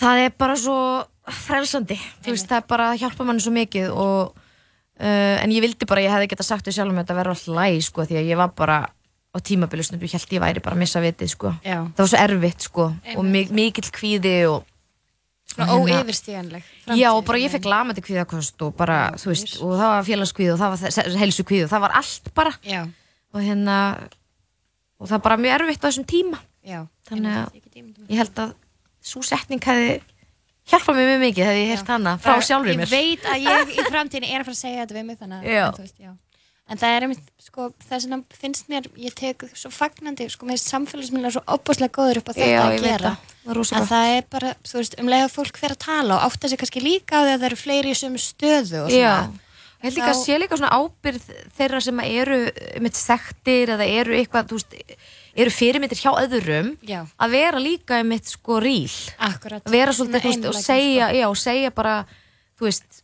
Speaker 2: það er bara svo frelsandi þú veist, það er bara að hjálpa manni svo mikið og, uh, en ég vildi bara, ég hefði geta sagt því sjálfum að þetta verður alltaf læg sko, því að ég var bara á tímabili stundum, ég held ég væri bara að missa vitið sko.
Speaker 1: já.
Speaker 2: það var svo erfitt sko, og mi mikill kvíði og,
Speaker 1: Svona
Speaker 2: Hérna-
Speaker 1: óyfirstíganleg.
Speaker 2: já, og bara ég fekk lamandi kvíðakost og bara, þú veist, og það var félagskvíð og það var helsu kvíð og það var allt bara
Speaker 1: Já,
Speaker 2: og hérna og það var bara mjög erfitt á þessum tíma
Speaker 1: já.
Speaker 2: Þannig að-
Speaker 1: Einmitt, ég get ímyndað mér.
Speaker 2: ég held að svo setning hefði hjálpað mér mjög mikið hefði ég heyrt hana frá
Speaker 1: Bara-
Speaker 2: sjálfum mér
Speaker 1: Ég veit að ég í framtíðin er að fara að segja þetta við mig þannig að
Speaker 2: Já.
Speaker 1: en þú veist, já. En það er einmitt, sko, það sem finnst mér, ég tek svo fagnandi, sko, með samfélagsmiðla svo opaslega góður upp á þetta að gera.
Speaker 2: það var rosa
Speaker 1: En
Speaker 2: gott
Speaker 1: það er bara, þú veist, um leið að fólk fer að tala og átta sig kannski líka á því að það eru fleiri í sömu stöðu og
Speaker 2: já,
Speaker 1: svona.
Speaker 2: ég held ekki að
Speaker 1: Þá-
Speaker 2: sé líka svona ábyrð þeirra sem að eru mitt sektir eða eru eitthvað, þú veist eru fyrirmyndir hjá öðrum
Speaker 1: Já.
Speaker 2: að vera líka mitt sko ríl
Speaker 1: Akkurat.
Speaker 2: að vera svolítið, þú
Speaker 1: Svona
Speaker 2: veist, og
Speaker 1: einlægni, sko.
Speaker 2: segja já, og segja bara, þú veist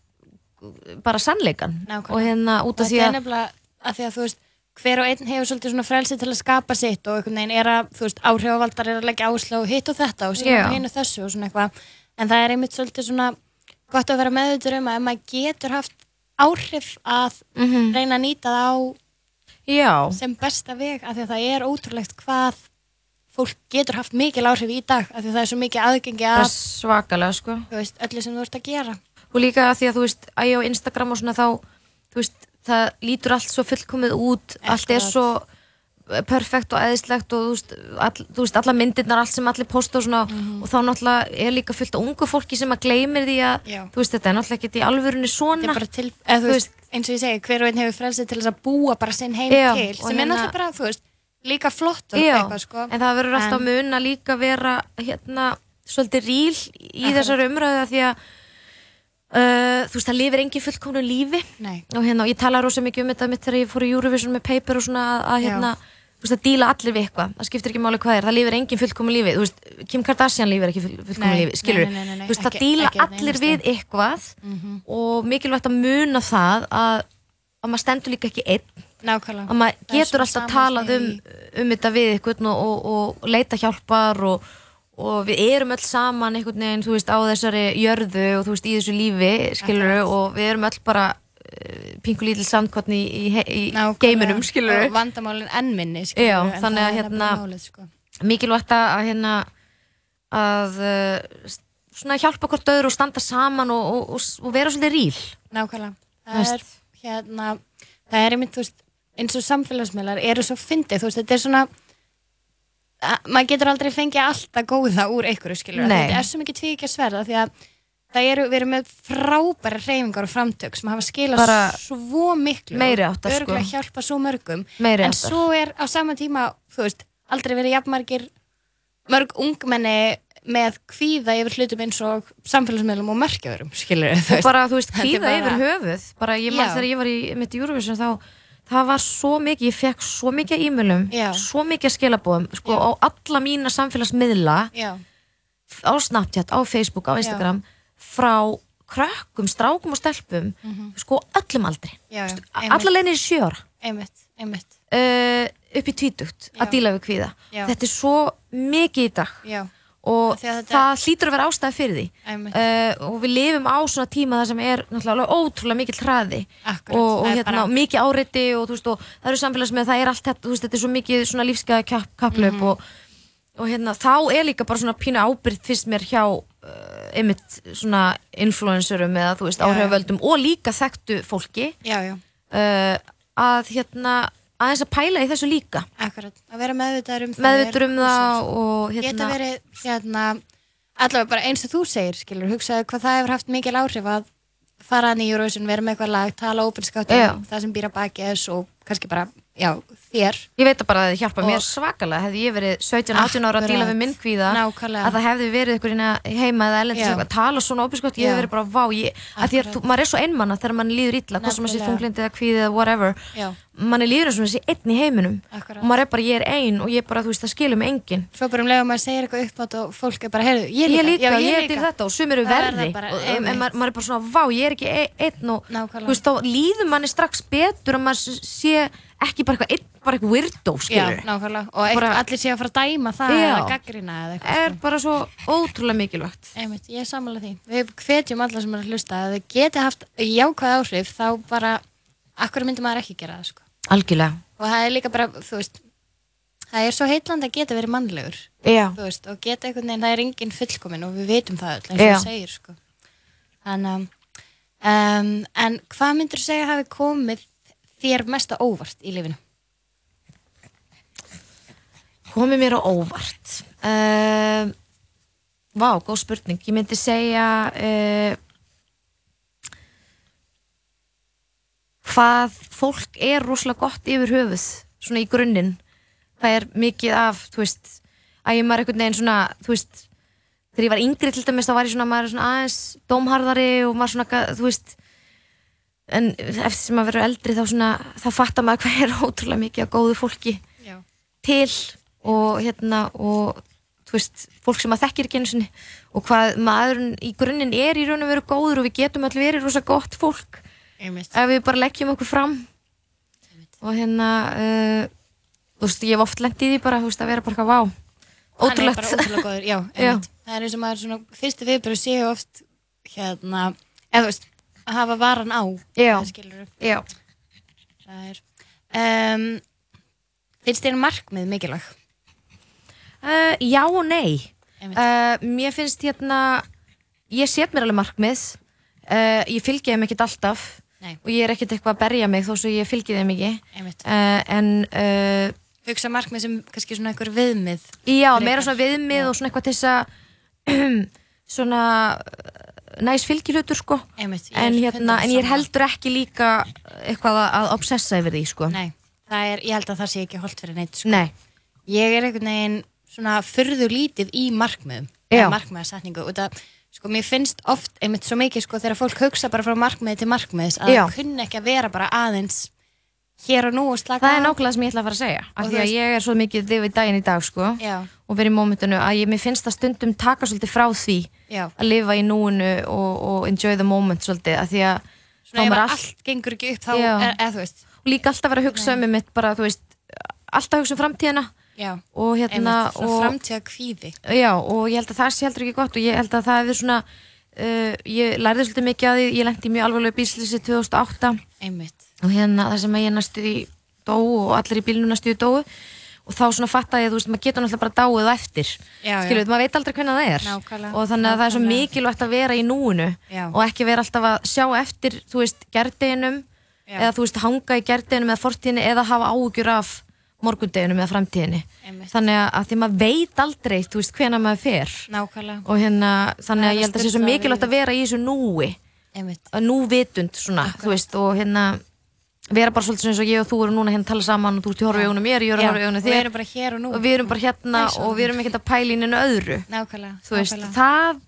Speaker 2: bara sannleikan
Speaker 1: Nákvæmlega.
Speaker 2: og hérna
Speaker 1: sko.
Speaker 2: út
Speaker 1: Og
Speaker 2: af því
Speaker 1: þetta er
Speaker 2: að
Speaker 1: nefnilega að því að þú veist, hver og einn hefur svolítið svona frelsi til að skapa sitt og einhvern veginn er að, þú veist, áhrifavaldar er að leggja ásla og hitt og þetta og
Speaker 2: Já.
Speaker 1: síðan hinn og þessu og svona eitthvað. En það er einmitt svolítið svona gott að vera meðvitað um að ef maður getur haft áhrif að reyna að nýta það á
Speaker 2: já,
Speaker 1: sem besta veg af því að það er ótrúlegt hvað fólk getur haft mikil áhrif í dag af því það er svo mikið aðgengi
Speaker 2: það
Speaker 1: að
Speaker 2: er svakalega sko
Speaker 1: þú veist, öllu sem þú ert að gera
Speaker 2: og líka af því að þú veist, æ á Instagram og svona þá, þú veist, það lítur allt svo fullkomið út, allt er
Speaker 1: Akkurat.
Speaker 2: svo eh, perfekt og eðislegt og þú veist, all, þú veist alla myndirnar, allt sem allir posta og svona
Speaker 1: Mhm.
Speaker 2: og þá náttúrulega er líka fullt af ungu fólki sem að gleymir því að,
Speaker 1: Já.
Speaker 2: þú veist, þetta er náttúrulega ekki í alvörunni
Speaker 1: Þetta
Speaker 2: svona
Speaker 1: er bara til, eða, þú
Speaker 2: Þú
Speaker 1: veist, eins og ég segi, hver og einn hefur frelsið til þess að búa bara sinn heim
Speaker 2: Já,
Speaker 1: til
Speaker 2: og
Speaker 1: sem
Speaker 2: ég
Speaker 1: er
Speaker 2: meina-
Speaker 1: náttúrulega bara, þú veist, líka flott og
Speaker 2: Já,
Speaker 1: eitthvað, sko
Speaker 2: en það verður alltaf
Speaker 1: En-
Speaker 2: mun að líka vera hérna, svolítið ríl í þessari umræðu af því að uh, þú veist, það lifir engin fullkomnu lífi
Speaker 1: Nei,
Speaker 2: og hérna, og ég tala rosa mikið um þetta mitt þegar ég fór í Eurovision með paper og svona að, að hérna, þú veist, að díla allir við eitthvað það skiptir ekki máli hvað er, það lifir engin fullkomu lífi þú veist, Kim Kardashian lifir ekki fullkomu
Speaker 1: Nei,
Speaker 2: lífi skilur,
Speaker 1: nei, nei, nei, nei,
Speaker 2: þú veist, það
Speaker 1: ekki-
Speaker 2: díla
Speaker 1: ekki einn
Speaker 2: allir
Speaker 1: einasti.
Speaker 2: við eitthvað
Speaker 1: Mhm.
Speaker 2: og mikilvægt að muna það að, að maður stendur líka ekki einn
Speaker 1: nákvæmlega
Speaker 2: að maður
Speaker 1: Það er
Speaker 2: getur
Speaker 1: svo
Speaker 2: alltaf
Speaker 1: sama
Speaker 2: talað um,
Speaker 1: í-
Speaker 2: um þetta við einhvern og, og, og leita hjálpar og, og við erum öll saman einhvern veginn, þú veist, á þessari jörðu og þú veist, í þessu lífi, skilur og við erum öll bara eh, pingu lítil samkvæmni í, í, í
Speaker 1: Nákvæmlega.
Speaker 2: geiminum, skilur
Speaker 1: Og vandamálin enn minni,
Speaker 2: Já,
Speaker 1: skilur
Speaker 2: þannig að hérna-
Speaker 1: málið, sko.
Speaker 2: mikilvægt að að hérna að uh, s- svona hjálpa hvort öðru og standa saman og, og, og, s- og vera svolítið ríl
Speaker 1: Nákvæmlega.
Speaker 2: Þú
Speaker 1: Það er, hérna, það er einmitt, þú veist, eins og samfélagsmiðlar eru svo fyndið, þú veist, þetta er svona, að- maður getur aldrei fengið alltaf góða úr einhverju, skilur.
Speaker 2: Nei.
Speaker 1: Þetta er svo mikið tvíkja sverða því að það eru, við erum með frábæra reyfingar og framtök sem hafa skilað
Speaker 2: Bara
Speaker 1: svo miklu.
Speaker 2: meiri háttar, sko.
Speaker 1: Örgulega hjálpa svo mörgum.
Speaker 2: Meiri
Speaker 1: en
Speaker 2: háttar.
Speaker 1: svo er á sama tíma, þú veist, aldrei verið jafnmargir mörg ungmenni með kvíða yfir hlutum eins og samfélagsmiðlum og merkjaverum, skilur þú veist.
Speaker 2: bara, þú veist,
Speaker 1: er
Speaker 2: kvíða
Speaker 1: bara-
Speaker 2: yfir höfuð bara ég man
Speaker 1: Já.
Speaker 2: þegar ég var í mitt í Eurovision þá það var svo mikið, ég fekk svo mikið af e-mailum,
Speaker 1: Já.
Speaker 2: svo mikið af skilabóðum sko á alla mína samfélagsmiðla
Speaker 1: Já.
Speaker 2: á Snapchat, á Facebook, á Instagram frá krökkum, strákum og stelpum
Speaker 1: Mhm.
Speaker 2: sko öllum aldri
Speaker 1: Já, já,
Speaker 2: alla leginir sjö ára
Speaker 1: einmitt, einmitt,
Speaker 2: uh, upp í tvítugt
Speaker 1: Já.
Speaker 2: að díla við kvíða
Speaker 1: Já.
Speaker 2: þetta er svo mikið í dag
Speaker 1: já,
Speaker 2: og
Speaker 1: Af því að þetta-
Speaker 2: það hlýtur að vera ástæði fyrir því
Speaker 1: einmitt,
Speaker 2: uh, og við lifum á svona tíma þar sem er náttúrulega alveg ótrúlega mikill hraði
Speaker 1: Akkurat,
Speaker 2: og, og
Speaker 1: það er
Speaker 2: hérna,
Speaker 1: bara-
Speaker 2: mikið áriti og, þú veist, og það eru samfélagsmið, það er allt þetta þú veist, þetta er svo mikið svona lífsgæða kapp, kapplöp
Speaker 1: Mhm.
Speaker 2: og, og hérna, þá er líka bara svona pínu ábyrgð fyrst mér hjá uh, einmitt svona influencerum eða þú veist
Speaker 1: Já, já.
Speaker 2: áhrifavöldum og líka þekktu fólki
Speaker 1: já, já,
Speaker 2: uh, að hérna aðeins að pæla í þessu líka
Speaker 1: akkurat, að vera meðvitaður um það
Speaker 2: meðvittur um
Speaker 1: er-
Speaker 2: það og
Speaker 1: Geta
Speaker 2: hérna
Speaker 1: verið, hérna, allavega bara eins og þú segir, skilur, hugsaðu hvað það hefur haft mikil áhrif að fara hann í Eurovision, vera með eitthvað lag, tala ópinskátt
Speaker 2: Já.
Speaker 1: um það sem býr að baki þess og kannski bara, já, þér,
Speaker 2: Ég veit að bara að það hjálpa
Speaker 1: Og-
Speaker 2: mér svakalega hefði ég verið 17-18 ára að díla við
Speaker 1: Akkurat.
Speaker 2: minn kvíða
Speaker 1: Nákvæmlega.
Speaker 2: að það hefði verið ykkur hérna heima eða
Speaker 1: Já.
Speaker 2: ellendis að tala svona opiskott, ég
Speaker 1: Já.
Speaker 2: hefði verið bara vá ég, að því að þú, maður er svo einmanna þegar mann líður illa hvort sem maður sé
Speaker 1: Nefnilega.
Speaker 2: þunglindi eða kvíði eða whatever
Speaker 1: Já.
Speaker 2: mann er líður eins og maður sé einn í heiminum
Speaker 1: Akkurat.
Speaker 2: og maður er bara, ég er ein og ég er bara, þú veist, það skilum engin
Speaker 1: svo bara um leið og maður segir eitthvað uppátt og fólk er bara, heyrðu, ég líka,
Speaker 2: ég líka,
Speaker 1: já,
Speaker 2: ég, er til þetta og sumir eru
Speaker 1: Það verða
Speaker 2: verri
Speaker 1: bara
Speaker 2: og, en
Speaker 1: einmitt.
Speaker 2: maður, maður er bara svona, vá, ég er ekki e- einn og
Speaker 1: Nákvæmlega.
Speaker 2: þú veist, þá líður manni strax betur að maður s- sé ekki bara eitthvað, einn, bara eitthvað weirdo,
Speaker 1: Já,
Speaker 2: skilur
Speaker 1: nákvæmlega, og eitthvað,
Speaker 2: Bara-
Speaker 1: allir séu að fara að dæma það
Speaker 2: Já.
Speaker 1: eða gaggrina eða eitthvað.
Speaker 2: er bara svo ótrúlega mikilvægt
Speaker 1: Einmitt, ég er samanlega því. Við hvetjum alla sem er að hlusta að þau geti haft jákvæð áhrif þá bara, akkur myndi maður ekki gera það sko.
Speaker 2: algjörlega
Speaker 1: Og það er líka bara, þú veist, það er svo heitland að geta verið mannlegur,
Speaker 2: já.
Speaker 1: þú veist, og geta einhvern veginn, það er engin fullkomin og við vitum það öll, eins og
Speaker 2: Já.
Speaker 1: það segir sko. Þannig að, um, en hvað myndur þú segja hafi komið þér mesta óvart í lifinu?
Speaker 2: komið mér á óvart uh, vá, góð spurning ég myndi segja uh, hvað fólk er rosalega gott yfir höfuð svona í grunninn það er mikið af, þú veist að ég maður einhvern veginn svona, þú veist þegar ég var yngri til dæmis þá var ég svona, maður er svona aðeins dómharðari og maður svona, ga- þú veist en eftir sem maður verður eldri þá svona, þá fattar maður hvað er ótrúlega mikið af góðu fólki
Speaker 1: Já.
Speaker 2: til og hérna og þú veist, fólk sem að þekkir ekki einu sinni og hvað maðurinn í grunninn er í raun og veru góður og við getum allir verið rosa gott fólk
Speaker 1: Einmitt.
Speaker 2: ef við bara leggjum okkur fram og hérna uh, þú veist, ég hef oft lent í því bara þú veist, að vera bara eitthvað vá
Speaker 1: Hann
Speaker 2: ótrúlegt,
Speaker 1: er bara ótrúlega góður, já, einmitt. Það er eins og maður svona, fyrstu viðbröð séu oft hérna, eða þú veist, að hafa varan á,
Speaker 2: Já.
Speaker 1: það skilur
Speaker 2: já,
Speaker 1: ehm, það er. Um, finnst þér markmið mikilvæg?
Speaker 2: Uh, já og nei
Speaker 1: Einmitt.
Speaker 2: uh, Mér finnst hérna Ég set mér alveg markmið uh, Ég fylgi þeim ekkert alltaf
Speaker 1: Nei.
Speaker 2: Og ég er ekkert eitthvað að berja mig Þó svo ég fylgi þeim ekki
Speaker 1: Einmitt.
Speaker 2: uh, En uh,
Speaker 1: Hugsa markmið sem kannski svona einhver viðmið.
Speaker 2: já,
Speaker 1: Frekar.
Speaker 2: meira svona viðmið Og svona eitthvað til þess að Svona uh, Næs fylgihlutur sko
Speaker 1: Einmitt, ég er
Speaker 2: en, hérna,
Speaker 1: 100%
Speaker 2: en ég er
Speaker 1: sammála.
Speaker 2: heldur ekki líka Eitthvað að- að obsessa yfir því sko
Speaker 1: Nei, það er, ég held að það sé ekki holdt fyrir neitt sko.
Speaker 2: Nei.
Speaker 1: Ég er einhvern veginn svona fyrðu lítið í markmiðum,
Speaker 2: Já.
Speaker 1: eða markmiðasetningu, út að sko mér finnst oft einmitt svo mikið sko þegar fólk hugsa bara frá markmiði til markmiðis að
Speaker 2: Já.
Speaker 1: það kunni ekki að vera bara aðeins hér og nú og slaka
Speaker 2: Það er
Speaker 1: á.
Speaker 2: nákvæmlega sem ég ætla að fara að segja
Speaker 1: Og
Speaker 2: af
Speaker 1: þú
Speaker 2: því að
Speaker 1: veist-
Speaker 2: ég er svo mikið við daginn í dag sko,
Speaker 1: Já.
Speaker 2: og verið í mómentinu að ég, mér finnst að stundum taka svolítið frá því
Speaker 1: Já.
Speaker 2: að lifa í núinu og, og enjoy the moment svolítið af því að
Speaker 1: svona
Speaker 2: þá
Speaker 1: ef
Speaker 2: maður
Speaker 1: allt, allt gengur ekki upp þá
Speaker 2: Já.
Speaker 1: er, eða þú veist
Speaker 2: og líka alltaf vera að hugsa um mitt bara, þú veist, alltaf hugsa um framtíðina
Speaker 1: Já.
Speaker 2: og hérna
Speaker 1: einmitt, svona
Speaker 2: og,
Speaker 1: framtíða kvíði
Speaker 2: já, og ég held að það sé heldur ekki gott og ég held að það hefur svona uh, ég lærði svolítið mikið að því, ég lendi mjög alvarlega bíslýsi 2008
Speaker 1: einmitt,
Speaker 2: og hérna það sem að ég næstu því dó og allir í bílnum næstu því dóu og þá svona fattaði ég að þú veist maður getur náttúrulega bara dáið á eftir
Speaker 1: Já, já.
Speaker 2: skilur, maður veit aldrei hvernig það er
Speaker 1: Nákvæmlega,
Speaker 2: og þannig að það er svo
Speaker 1: nákvæmlega.
Speaker 2: mikilvægt að vera í núinu
Speaker 1: Já.
Speaker 2: og ekki vera alltaf að sjá eftir þú veist gerdeginum
Speaker 1: Já.
Speaker 2: eða þú veist hanga í gerdeginum eða fortíðinu eða hafa áhugjur af morgundeginum eða framtíðinu
Speaker 1: Einmitt.
Speaker 2: þannig að því maður veit aldrei þú veist hvenær maður fer
Speaker 1: nákvæmlega
Speaker 2: og hérna
Speaker 1: Það er
Speaker 2: þannig að ég held að það sé
Speaker 1: að
Speaker 2: svo
Speaker 1: spyrna
Speaker 2: mikilvægt að vera í þessu núi
Speaker 1: einmitt,
Speaker 2: að núvitund svona, þú veist, og hérna vera bara svolítið eins og ég og þú erum núna hérna að tala saman og þú ert í horfa í augunum mér, ég er í
Speaker 1: Já,
Speaker 2: horfa í
Speaker 1: og
Speaker 2: augunum þér
Speaker 1: við erum bara hér og nú.
Speaker 2: og við erum bara hérna
Speaker 1: Nei, svona.
Speaker 2: og við erum ekkert að pæla í neina öðru
Speaker 1: nákvæmlega
Speaker 2: þú veist,
Speaker 1: nákvæmlega.
Speaker 2: það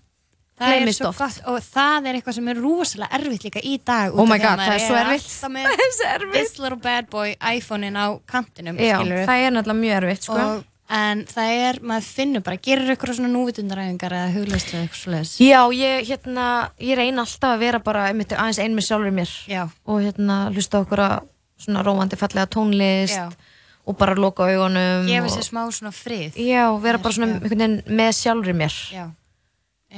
Speaker 1: það er
Speaker 2: gleymist
Speaker 1: svo
Speaker 2: oft.
Speaker 1: gott og það er eitthvað sem er rosalega erfitt líka í dag út
Speaker 2: Oh
Speaker 1: af
Speaker 2: my
Speaker 1: því að
Speaker 2: God,
Speaker 1: maður
Speaker 2: það er svo erfitt.
Speaker 1: alltaf með
Speaker 2: er svo erfitt
Speaker 1: this little bad boy iPhone-in á kantinum
Speaker 2: Já,
Speaker 1: skilurðu.
Speaker 2: það er náttúrulega mjög erfitt sko.
Speaker 1: og, en það er, maður finnur bara gerir ykkur svona núvitundaræfingar eða hugleyslu eða eitthvað svoleiðis
Speaker 2: Já, ég hérna ég reyna alltaf að vera bara einmitt, aðeins ein með sjálfur mér
Speaker 1: Já.
Speaker 2: og hérna hlusta okkur að svona róandi fallega tónlist
Speaker 1: Já.
Speaker 2: og bara loka augunum
Speaker 1: gefa
Speaker 2: og,
Speaker 1: sér smá svona frið
Speaker 2: Já, vera bara svona
Speaker 1: Já.
Speaker 2: einhvern veginn með sjálfur mér
Speaker 1: já,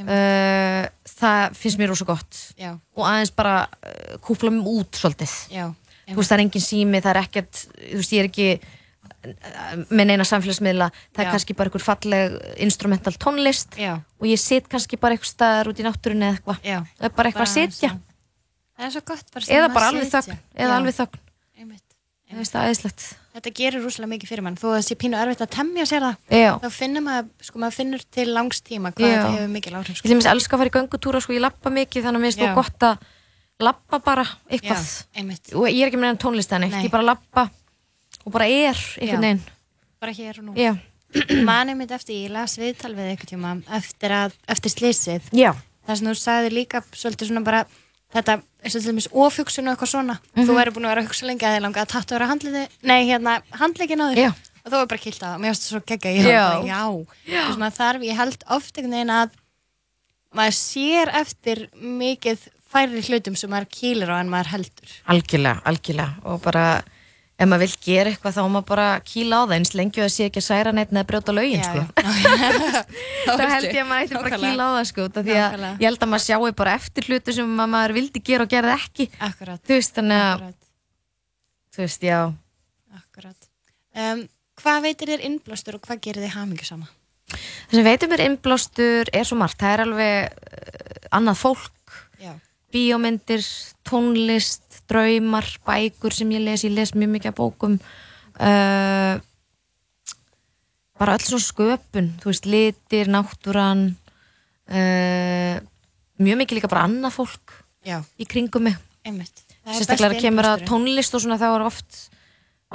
Speaker 2: uh, það finnst mér rosa gott
Speaker 1: já,
Speaker 2: og aðeins bara uh, kúpla mig út svolítið
Speaker 1: já
Speaker 2: þú veist það er engin sími, það er ekkert þú veist ég er ekki uh, með neina samfélagsmiðla, það
Speaker 1: Já.
Speaker 2: er kannski bara einhver falleg instrumental tónlist
Speaker 1: Já.
Speaker 2: og ég sit kannski bara einhver staðar út í náttúrunni eða eitthvað,
Speaker 1: Já.
Speaker 2: það er bara eitthvað að
Speaker 1: Bara aðeins
Speaker 2: sitja
Speaker 1: að- það er svo gott bara
Speaker 2: eða
Speaker 1: stundum
Speaker 2: bara
Speaker 1: að
Speaker 2: alveg
Speaker 1: sitja.
Speaker 2: þögn eða
Speaker 1: Já,
Speaker 2: alveg þögn,
Speaker 1: einmitt.
Speaker 2: það veist það er aðeinslegt
Speaker 1: þetta gerir rúslega mikið fyrir mann þó að það sé pínu erfitt að temja sér það
Speaker 2: Já.
Speaker 1: þá finnur maður, sko maður finnur til langs tíma hvað
Speaker 2: Já.
Speaker 1: þetta hefur mikil áhrif
Speaker 2: ég
Speaker 1: sko.
Speaker 2: til dæmis elska að fara í göngutúra, sko ég lappa mikið þannig að mér
Speaker 1: Já.
Speaker 2: finnst þú gott að lappa bara eitthvað
Speaker 1: einmitt,
Speaker 2: og ég er ekki með neina tónlist þannig,
Speaker 1: Nei.
Speaker 2: ég bara lappa og bara er
Speaker 1: Já.
Speaker 2: einhvern veginn
Speaker 1: bara hér og nú
Speaker 2: Já.
Speaker 1: manið mitt eftir, ég las viðtal við eitthvað tíma eftir, að, eftir slysið
Speaker 2: Já.
Speaker 1: þar sem þú sagði líka svolítið svona bara þetta, eins og til dæmis ofhugsun og eitthvað svona þú
Speaker 2: Mhm.
Speaker 1: væri búin að vera að hugsa lengi að þið langa að tattu vera handliði, nei hérna, handlegin á þér
Speaker 2: Já.
Speaker 1: og þú var bara kilt á það, mér varst svo geggja ég var
Speaker 2: Já.
Speaker 1: bara, já, Og svona þarf ég held oft einhvern veginn að maður sér eftir mikið færri hlutum sem maður kýlir á en maður heldur
Speaker 2: Algjörlega, algjörlega og bara ef maður vil gera eitthvað þá á maður bara kýla á það eins lengi og það sé ekki að særa neitt eða brjóta lögin
Speaker 1: Já,
Speaker 2: sko.
Speaker 1: já.
Speaker 2: Þá held ég að maður eitthvað bara að kýla á það sko, út af því að
Speaker 1: Nákvæmlega.
Speaker 2: ég held að maður sjái bara eftir hlutu sem að maður vildi gera og gerði ekki
Speaker 1: Akkurat,
Speaker 2: Þú veist, þannig að,
Speaker 1: akkurat,
Speaker 2: þú veist, já
Speaker 1: akkurat. Um, Hvað veitir þér innblástur og hvað gerir þið hamingu sama?
Speaker 2: Það sem veitum mér innblástur er svo margt, það er alveg uh, annað fólk
Speaker 1: Já,
Speaker 2: bíómyndir, tónlist, draumar, bækur sem ég les, ég les mjög mikið af bókum, uh, bara öll svona sköpun, þú veist, litir, náttúran, uh, mjög mikið líka bara annað fólk
Speaker 1: já,
Speaker 2: í kringum mig,
Speaker 1: einmitt. Það er
Speaker 2: sérstaklega
Speaker 1: besti
Speaker 2: kemur að
Speaker 1: innblásturinn.
Speaker 2: tónlist og svona þá er oft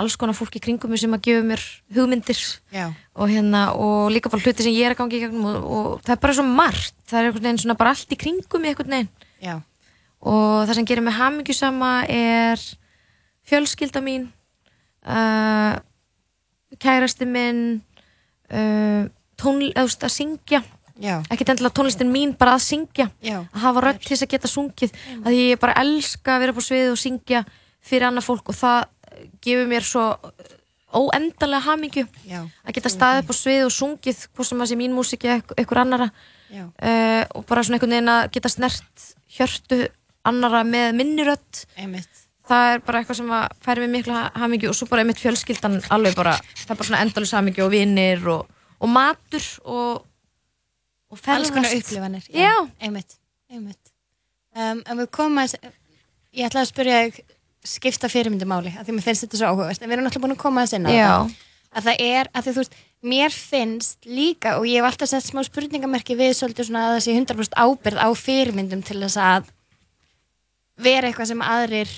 Speaker 2: alls konar fólk í kringum mig sem að gefa mér hugmyndir
Speaker 1: Já,
Speaker 2: og hérna og líka bara hluti sem ég er að gangi í gegnum og, og það er bara svo margt, það er einhvern veginn svona bara allt í kringum mig einhvern veginn
Speaker 1: já,
Speaker 2: og það sem gerir mig hamingjusama er fjölskylda mín uh, kærasti minn uh, tónl, eða, þú veist, að syngja
Speaker 1: já,
Speaker 2: ekkert endilega tónlistin mín bara að syngja
Speaker 1: Já.
Speaker 2: að hafa rödd til þess að geta sungið að því ég bara elska að vera på sviði og syngja fyrir annað fólk og það eh, gefur mér svo eh, óendanlega hamingju
Speaker 1: já,
Speaker 2: að geta staðið upp á sviði og sungið hvort sem það sé mín músík eða ekk- einhver annara
Speaker 1: já,
Speaker 2: uh, og bara svona einhvern veginn að geta snert hjörtu annara með minni rödd
Speaker 1: einmitt.
Speaker 2: það er bara eitthvað sem að færi mig mikla hamingju og svo bara einmitt fjölskyldan alveg bara, það er bara svona endalus hamingju og vinnir og, og og matur og, og
Speaker 1: alls
Speaker 2: ferðast
Speaker 1: konar upplifanir
Speaker 2: Já.
Speaker 1: einmitt, einmitt. Um, en við komum að ég ætlaði að spyrja þig skipta fyrirmyndi máli, af því mér finnst þetta svo áhugavert en við erum alltaf búin að koma að sinna
Speaker 2: Já.
Speaker 1: að það er, að því þú veist, mér finnst líka og ég hef alltaf sett smá spurningamerki við svolítið svona að það sé 100% ábyrð á fyrirmyndum til þess að vera eitthvað sem aðrir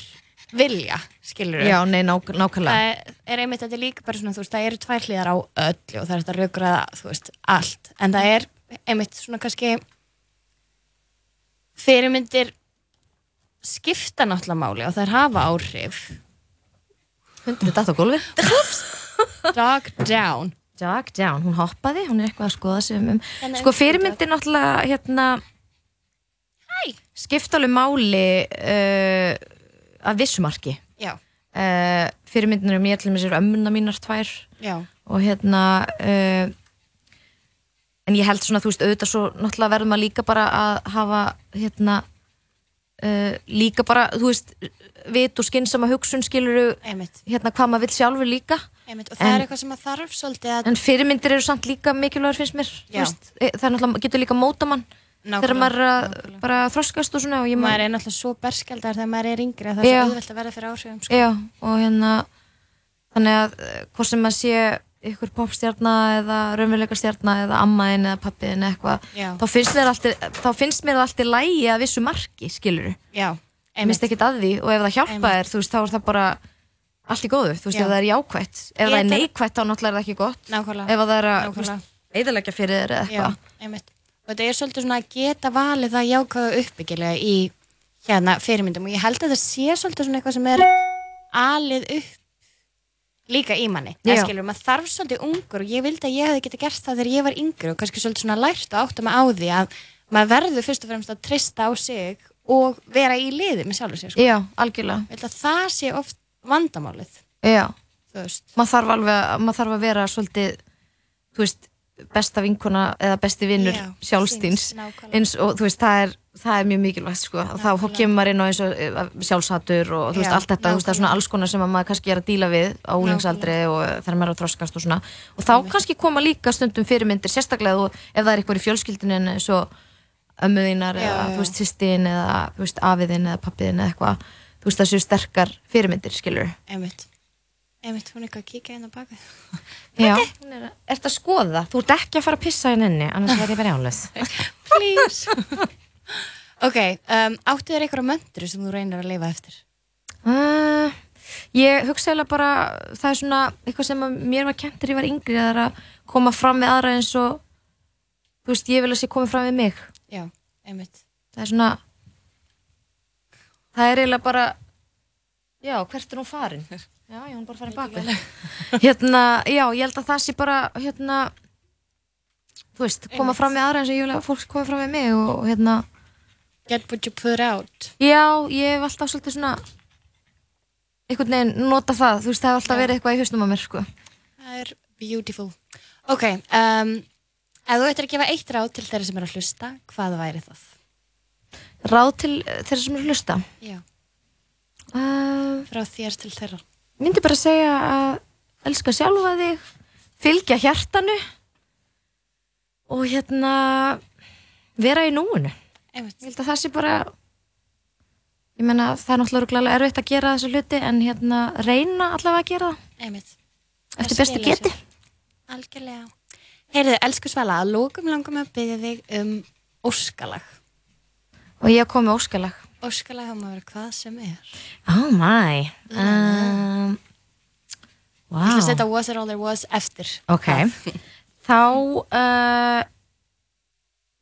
Speaker 1: vilja, skilur
Speaker 2: Já, nei, nák nákvæmlega
Speaker 1: það er einmitt þetta er líka bara svona þú veist, það eru tvær hliðar á öllu og það er þetta raukraða, þú veist, allt en það er einmitt svona kannski fyrirmyndir skipta náttúrulega máli og það er hafa áhrif
Speaker 2: Hundurinn datt á gólfi
Speaker 1: dog down
Speaker 2: Jack Down, hún hoppaði, hún er eitthvað að skoða sig um um
Speaker 1: Þannig
Speaker 2: Sko
Speaker 1: að-
Speaker 2: fyrirmyndir náttúrulega hérna
Speaker 1: Hæ.
Speaker 2: skipta alveg máli uh, að vissumarki
Speaker 1: já,
Speaker 2: uh, fyrirmyndir um ég til mér sér ömmuna mínar tvær
Speaker 1: já,
Speaker 2: og hérna uh, en ég held svona þú veist auðvitað svo náttúrulega verður maður líka bara að hafa hérna uh, líka bara þú veist vit og skynsama hugsun skilur
Speaker 1: einmitt,
Speaker 2: hérna hvað maður vill sjálfur líka
Speaker 1: einmitt og það
Speaker 2: En-
Speaker 1: er eitthvað sem að þarf svolítið að
Speaker 2: en fyrirmyndir eru samt líka mikilvægur finnst mér þú
Speaker 1: Já.
Speaker 2: veist, e, það er náttúrulega getur líka móta mann þegar maður er að bara að þroskast og svona og ég
Speaker 1: maður
Speaker 2: maður
Speaker 1: er náttúrulega svo berskjaldar þegar maður er yngri að það er
Speaker 2: Já.
Speaker 1: svo auðvelt að vera fyrir áhrifum sko.
Speaker 2: Já, og hérna þannig að eh, hvort sem maður sé ykkur popstjarnar eða raunveruleikastjarnar eða ammaðin eða pappiðin eitthvað
Speaker 1: Já.
Speaker 2: þá finnst, mér allt í- þá finnst mér það allt í lægi að vissu marki, skilur
Speaker 1: já,
Speaker 2: ég
Speaker 1: einmitt
Speaker 2: minnst ekkit að því og ef það hjálpa
Speaker 1: Einmitt.
Speaker 2: þér þú veist, þá er það bara allt í góðu, þú veist,
Speaker 1: Já.
Speaker 2: ef það er jákvætt ef
Speaker 1: Ég
Speaker 2: það er
Speaker 1: þarf-
Speaker 2: neikvætt þá náttúrulega er það ekki gott
Speaker 1: Nákvæmlega.
Speaker 2: ef að það er að þú
Speaker 1: Nákvæmlega.
Speaker 2: veist, eðalega fyrir þér eða
Speaker 1: Já,
Speaker 2: eitthvað
Speaker 1: einmitt. Og þetta er svolítið svona að geta valið það jákvæða uppbyggilega í hérna fyrirmyndum og ég held að það sé svolítið svona eitthvað sem er alið upp líka í manni. Það
Speaker 2: Já.
Speaker 1: skilur, maður þarf svolítið ungur og ég vildi að ég hefði geta gert það þegar ég var yngri og kannski svolítið svona lært og áttum að á því að maður verður fyrst og fremst að treysta á sig og vera í liði með sjálfur sér. Sko.
Speaker 2: Já, algjörlega
Speaker 1: Ég held að það sé oft vandamálið,
Speaker 2: Já,
Speaker 1: þú veist.
Speaker 2: maður þarf alveg að, maður þarf að vera svolítið, þú veist besta vinkona eða besti vinnur
Speaker 1: Já,
Speaker 2: sjálfstíns
Speaker 1: síns, nákvæmlega.
Speaker 2: eins og þú veist það er, það er mjög mikilvægt sko og þá þá kemur maður inn á eins og eh, sjálfshatur og þú veist
Speaker 1: Já,
Speaker 2: allt þetta, þú veist það er svona alls konar sem að maður kannski er að díla við á úlingsaldri og e, þegar maður er að þroskast og svona og þá kannski koma líka stundum fyrirmyndir sérstaklega þú, ef það er eitthvað í fjölskyldunin eins og ömmuðinar
Speaker 1: Já,
Speaker 2: eða
Speaker 1: já.
Speaker 2: þú veist sýstin eða þú veist afiðin eða pappiðin eða eitthvað þú veist það séu sterkar fyrirmyndir skilur
Speaker 1: Einmitt. Einmitt, hún er eitthvað að kíkja inn á bakið.
Speaker 2: Já. Er þetta að skoða? Þú ert ekki að fara að pissa hérna inni, annars verð ég verið álöð.
Speaker 1: please ok, um, áttu þér eitthvað möndru sem þú reynir að lifa eftir
Speaker 2: Uh, ég hugsa eiginlega bara, það er svona eitthvað sem að mér var kent þegar ég var yngri, það er að koma fram við aðra eins og, þú veist, ég vil að sé koma fram við mig.
Speaker 1: já, einmitt
Speaker 2: Það er svona, það er eiginlega bara, já, hvert er hún farin? Já, já, hún er bara farin bakveg. Hérna, já, ég held að það sé bara, hérna, þú veist, koma fram við aðra eins og ég vil að fólk koma fram við mig og, hérna,
Speaker 1: get what you put out
Speaker 2: Já, ég hef alltaf svolítið svona einhvern veginn nota það þú veist, það hef alltaf verið eitthvað í hausnum á mér sko.
Speaker 1: það er beautiful ok, um, ef þú ættir að gefa eitt ráð til þeirra sem eru að hlusta hvað væri það?
Speaker 2: Ráð til eh, þeirra sem eru að hlusta
Speaker 1: já,
Speaker 2: uh,
Speaker 1: frá þér til þeirra
Speaker 2: Myndi bara segja að elska sjálfa þig fylgja hjartanu og hérna vera í núinu Ég
Speaker 1: einmitt,
Speaker 2: held að það sé bara ég meina, það er náttúrulega örugglega erfitt að gera þessu hluti en hérna reyna allavega að gera það
Speaker 1: einmitt
Speaker 2: eftir
Speaker 1: Það
Speaker 2: bestu
Speaker 1: skilar
Speaker 2: geti
Speaker 1: sér. algjörlega heyrðu, elsku Svala, að lókum langum að byggja þig um óskalag
Speaker 2: og ég kom með óskalag
Speaker 1: óskalag þá maður hvað sem er
Speaker 2: Oh my
Speaker 1: ég
Speaker 2: um, Wow
Speaker 1: ætla að setja was it all there was eftir
Speaker 2: Ok Þá uh,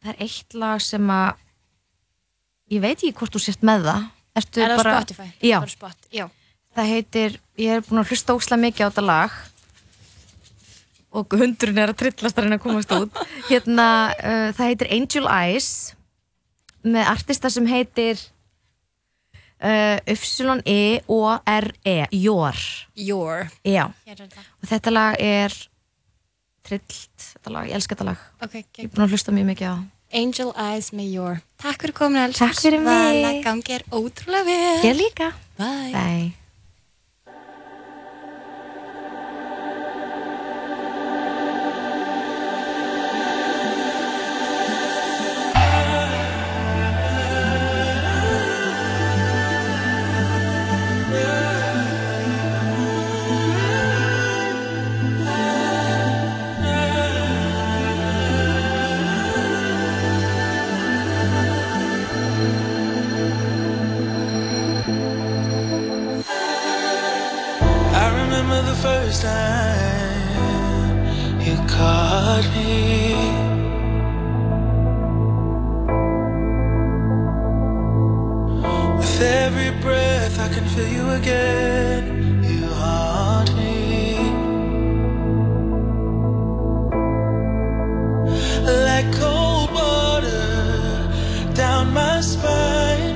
Speaker 2: Það er eitt lag sem að Ég veit ekki hvort þú sért með það Ertu
Speaker 1: er það
Speaker 2: bara
Speaker 1: Spotify?
Speaker 2: Já,
Speaker 1: Bara spot. já,
Speaker 2: það heitir Ég er búin að hlusta óslega mikið á þetta lag Og hundurinn er að trillast að reyna að komast út Hérna, uh, það heitir Angel Eyes Með artista sem heitir uh, Y-O-R-E Jór
Speaker 1: your
Speaker 2: Já,
Speaker 1: hér er það
Speaker 2: E, og þetta lag er trillt, þetta lag, ég elska þetta lag
Speaker 1: Ok,
Speaker 2: Ég
Speaker 1: gegn.
Speaker 2: er búin að hlusta mjög mikið á það.
Speaker 1: Angel Eyes með Your Takk fyrir komin elsku
Speaker 2: Takk fyrir mig.
Speaker 1: Svala, gangi er ótrúlega vel
Speaker 2: Ég líka
Speaker 1: Bye
Speaker 2: Bye
Speaker 3: Angel first time you caught me. With every breath, I can feel you again. You haunt me. Like cold water down my spine.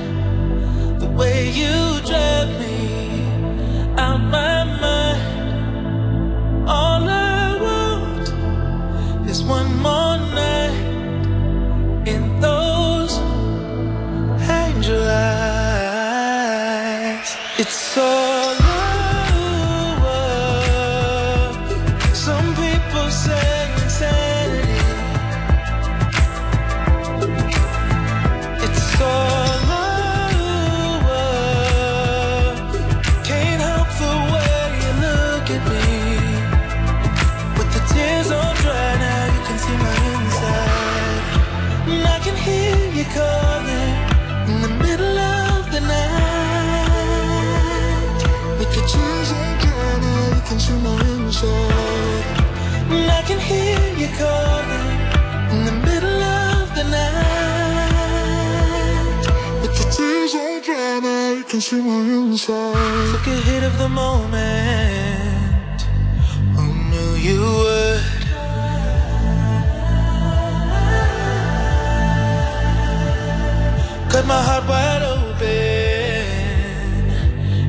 Speaker 3: The way you drive me out my mind. All I want is one more night in those angel eyes. It's all over. Some people say insanity. It's all over. Can't help the way you look at me. With the tears all dry now, you can see my inside. And I can hear you calling in the middle of the night. With the tears all dry now, you can see my inside. And I can hear you calling in the middle of the night. With the tears all dry now, you can see my inside. Took a hit of the moment. Who knew you would? Cut my heart wide open.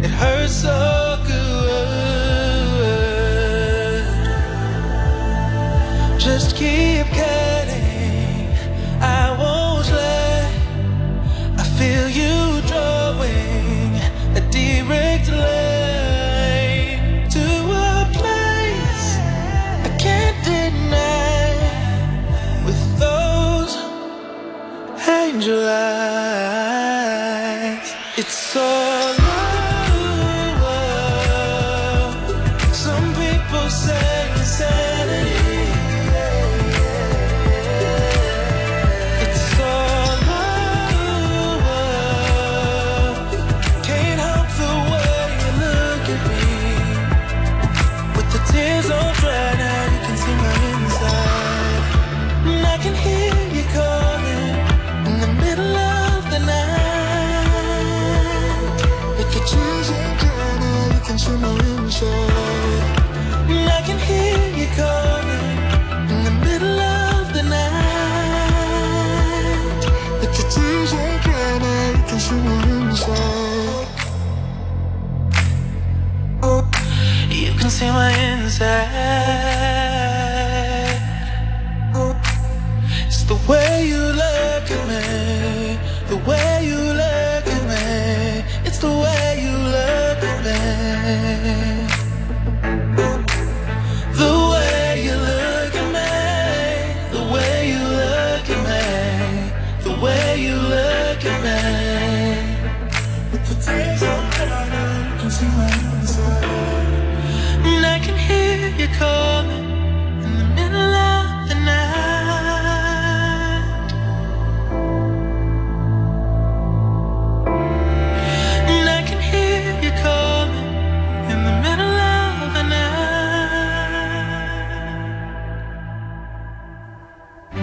Speaker 3: It hurts so good. Just keep cutting. I won't let. I feel you drawing a direct line to a place I can't deny. With those angel eyes. Oh, Oh.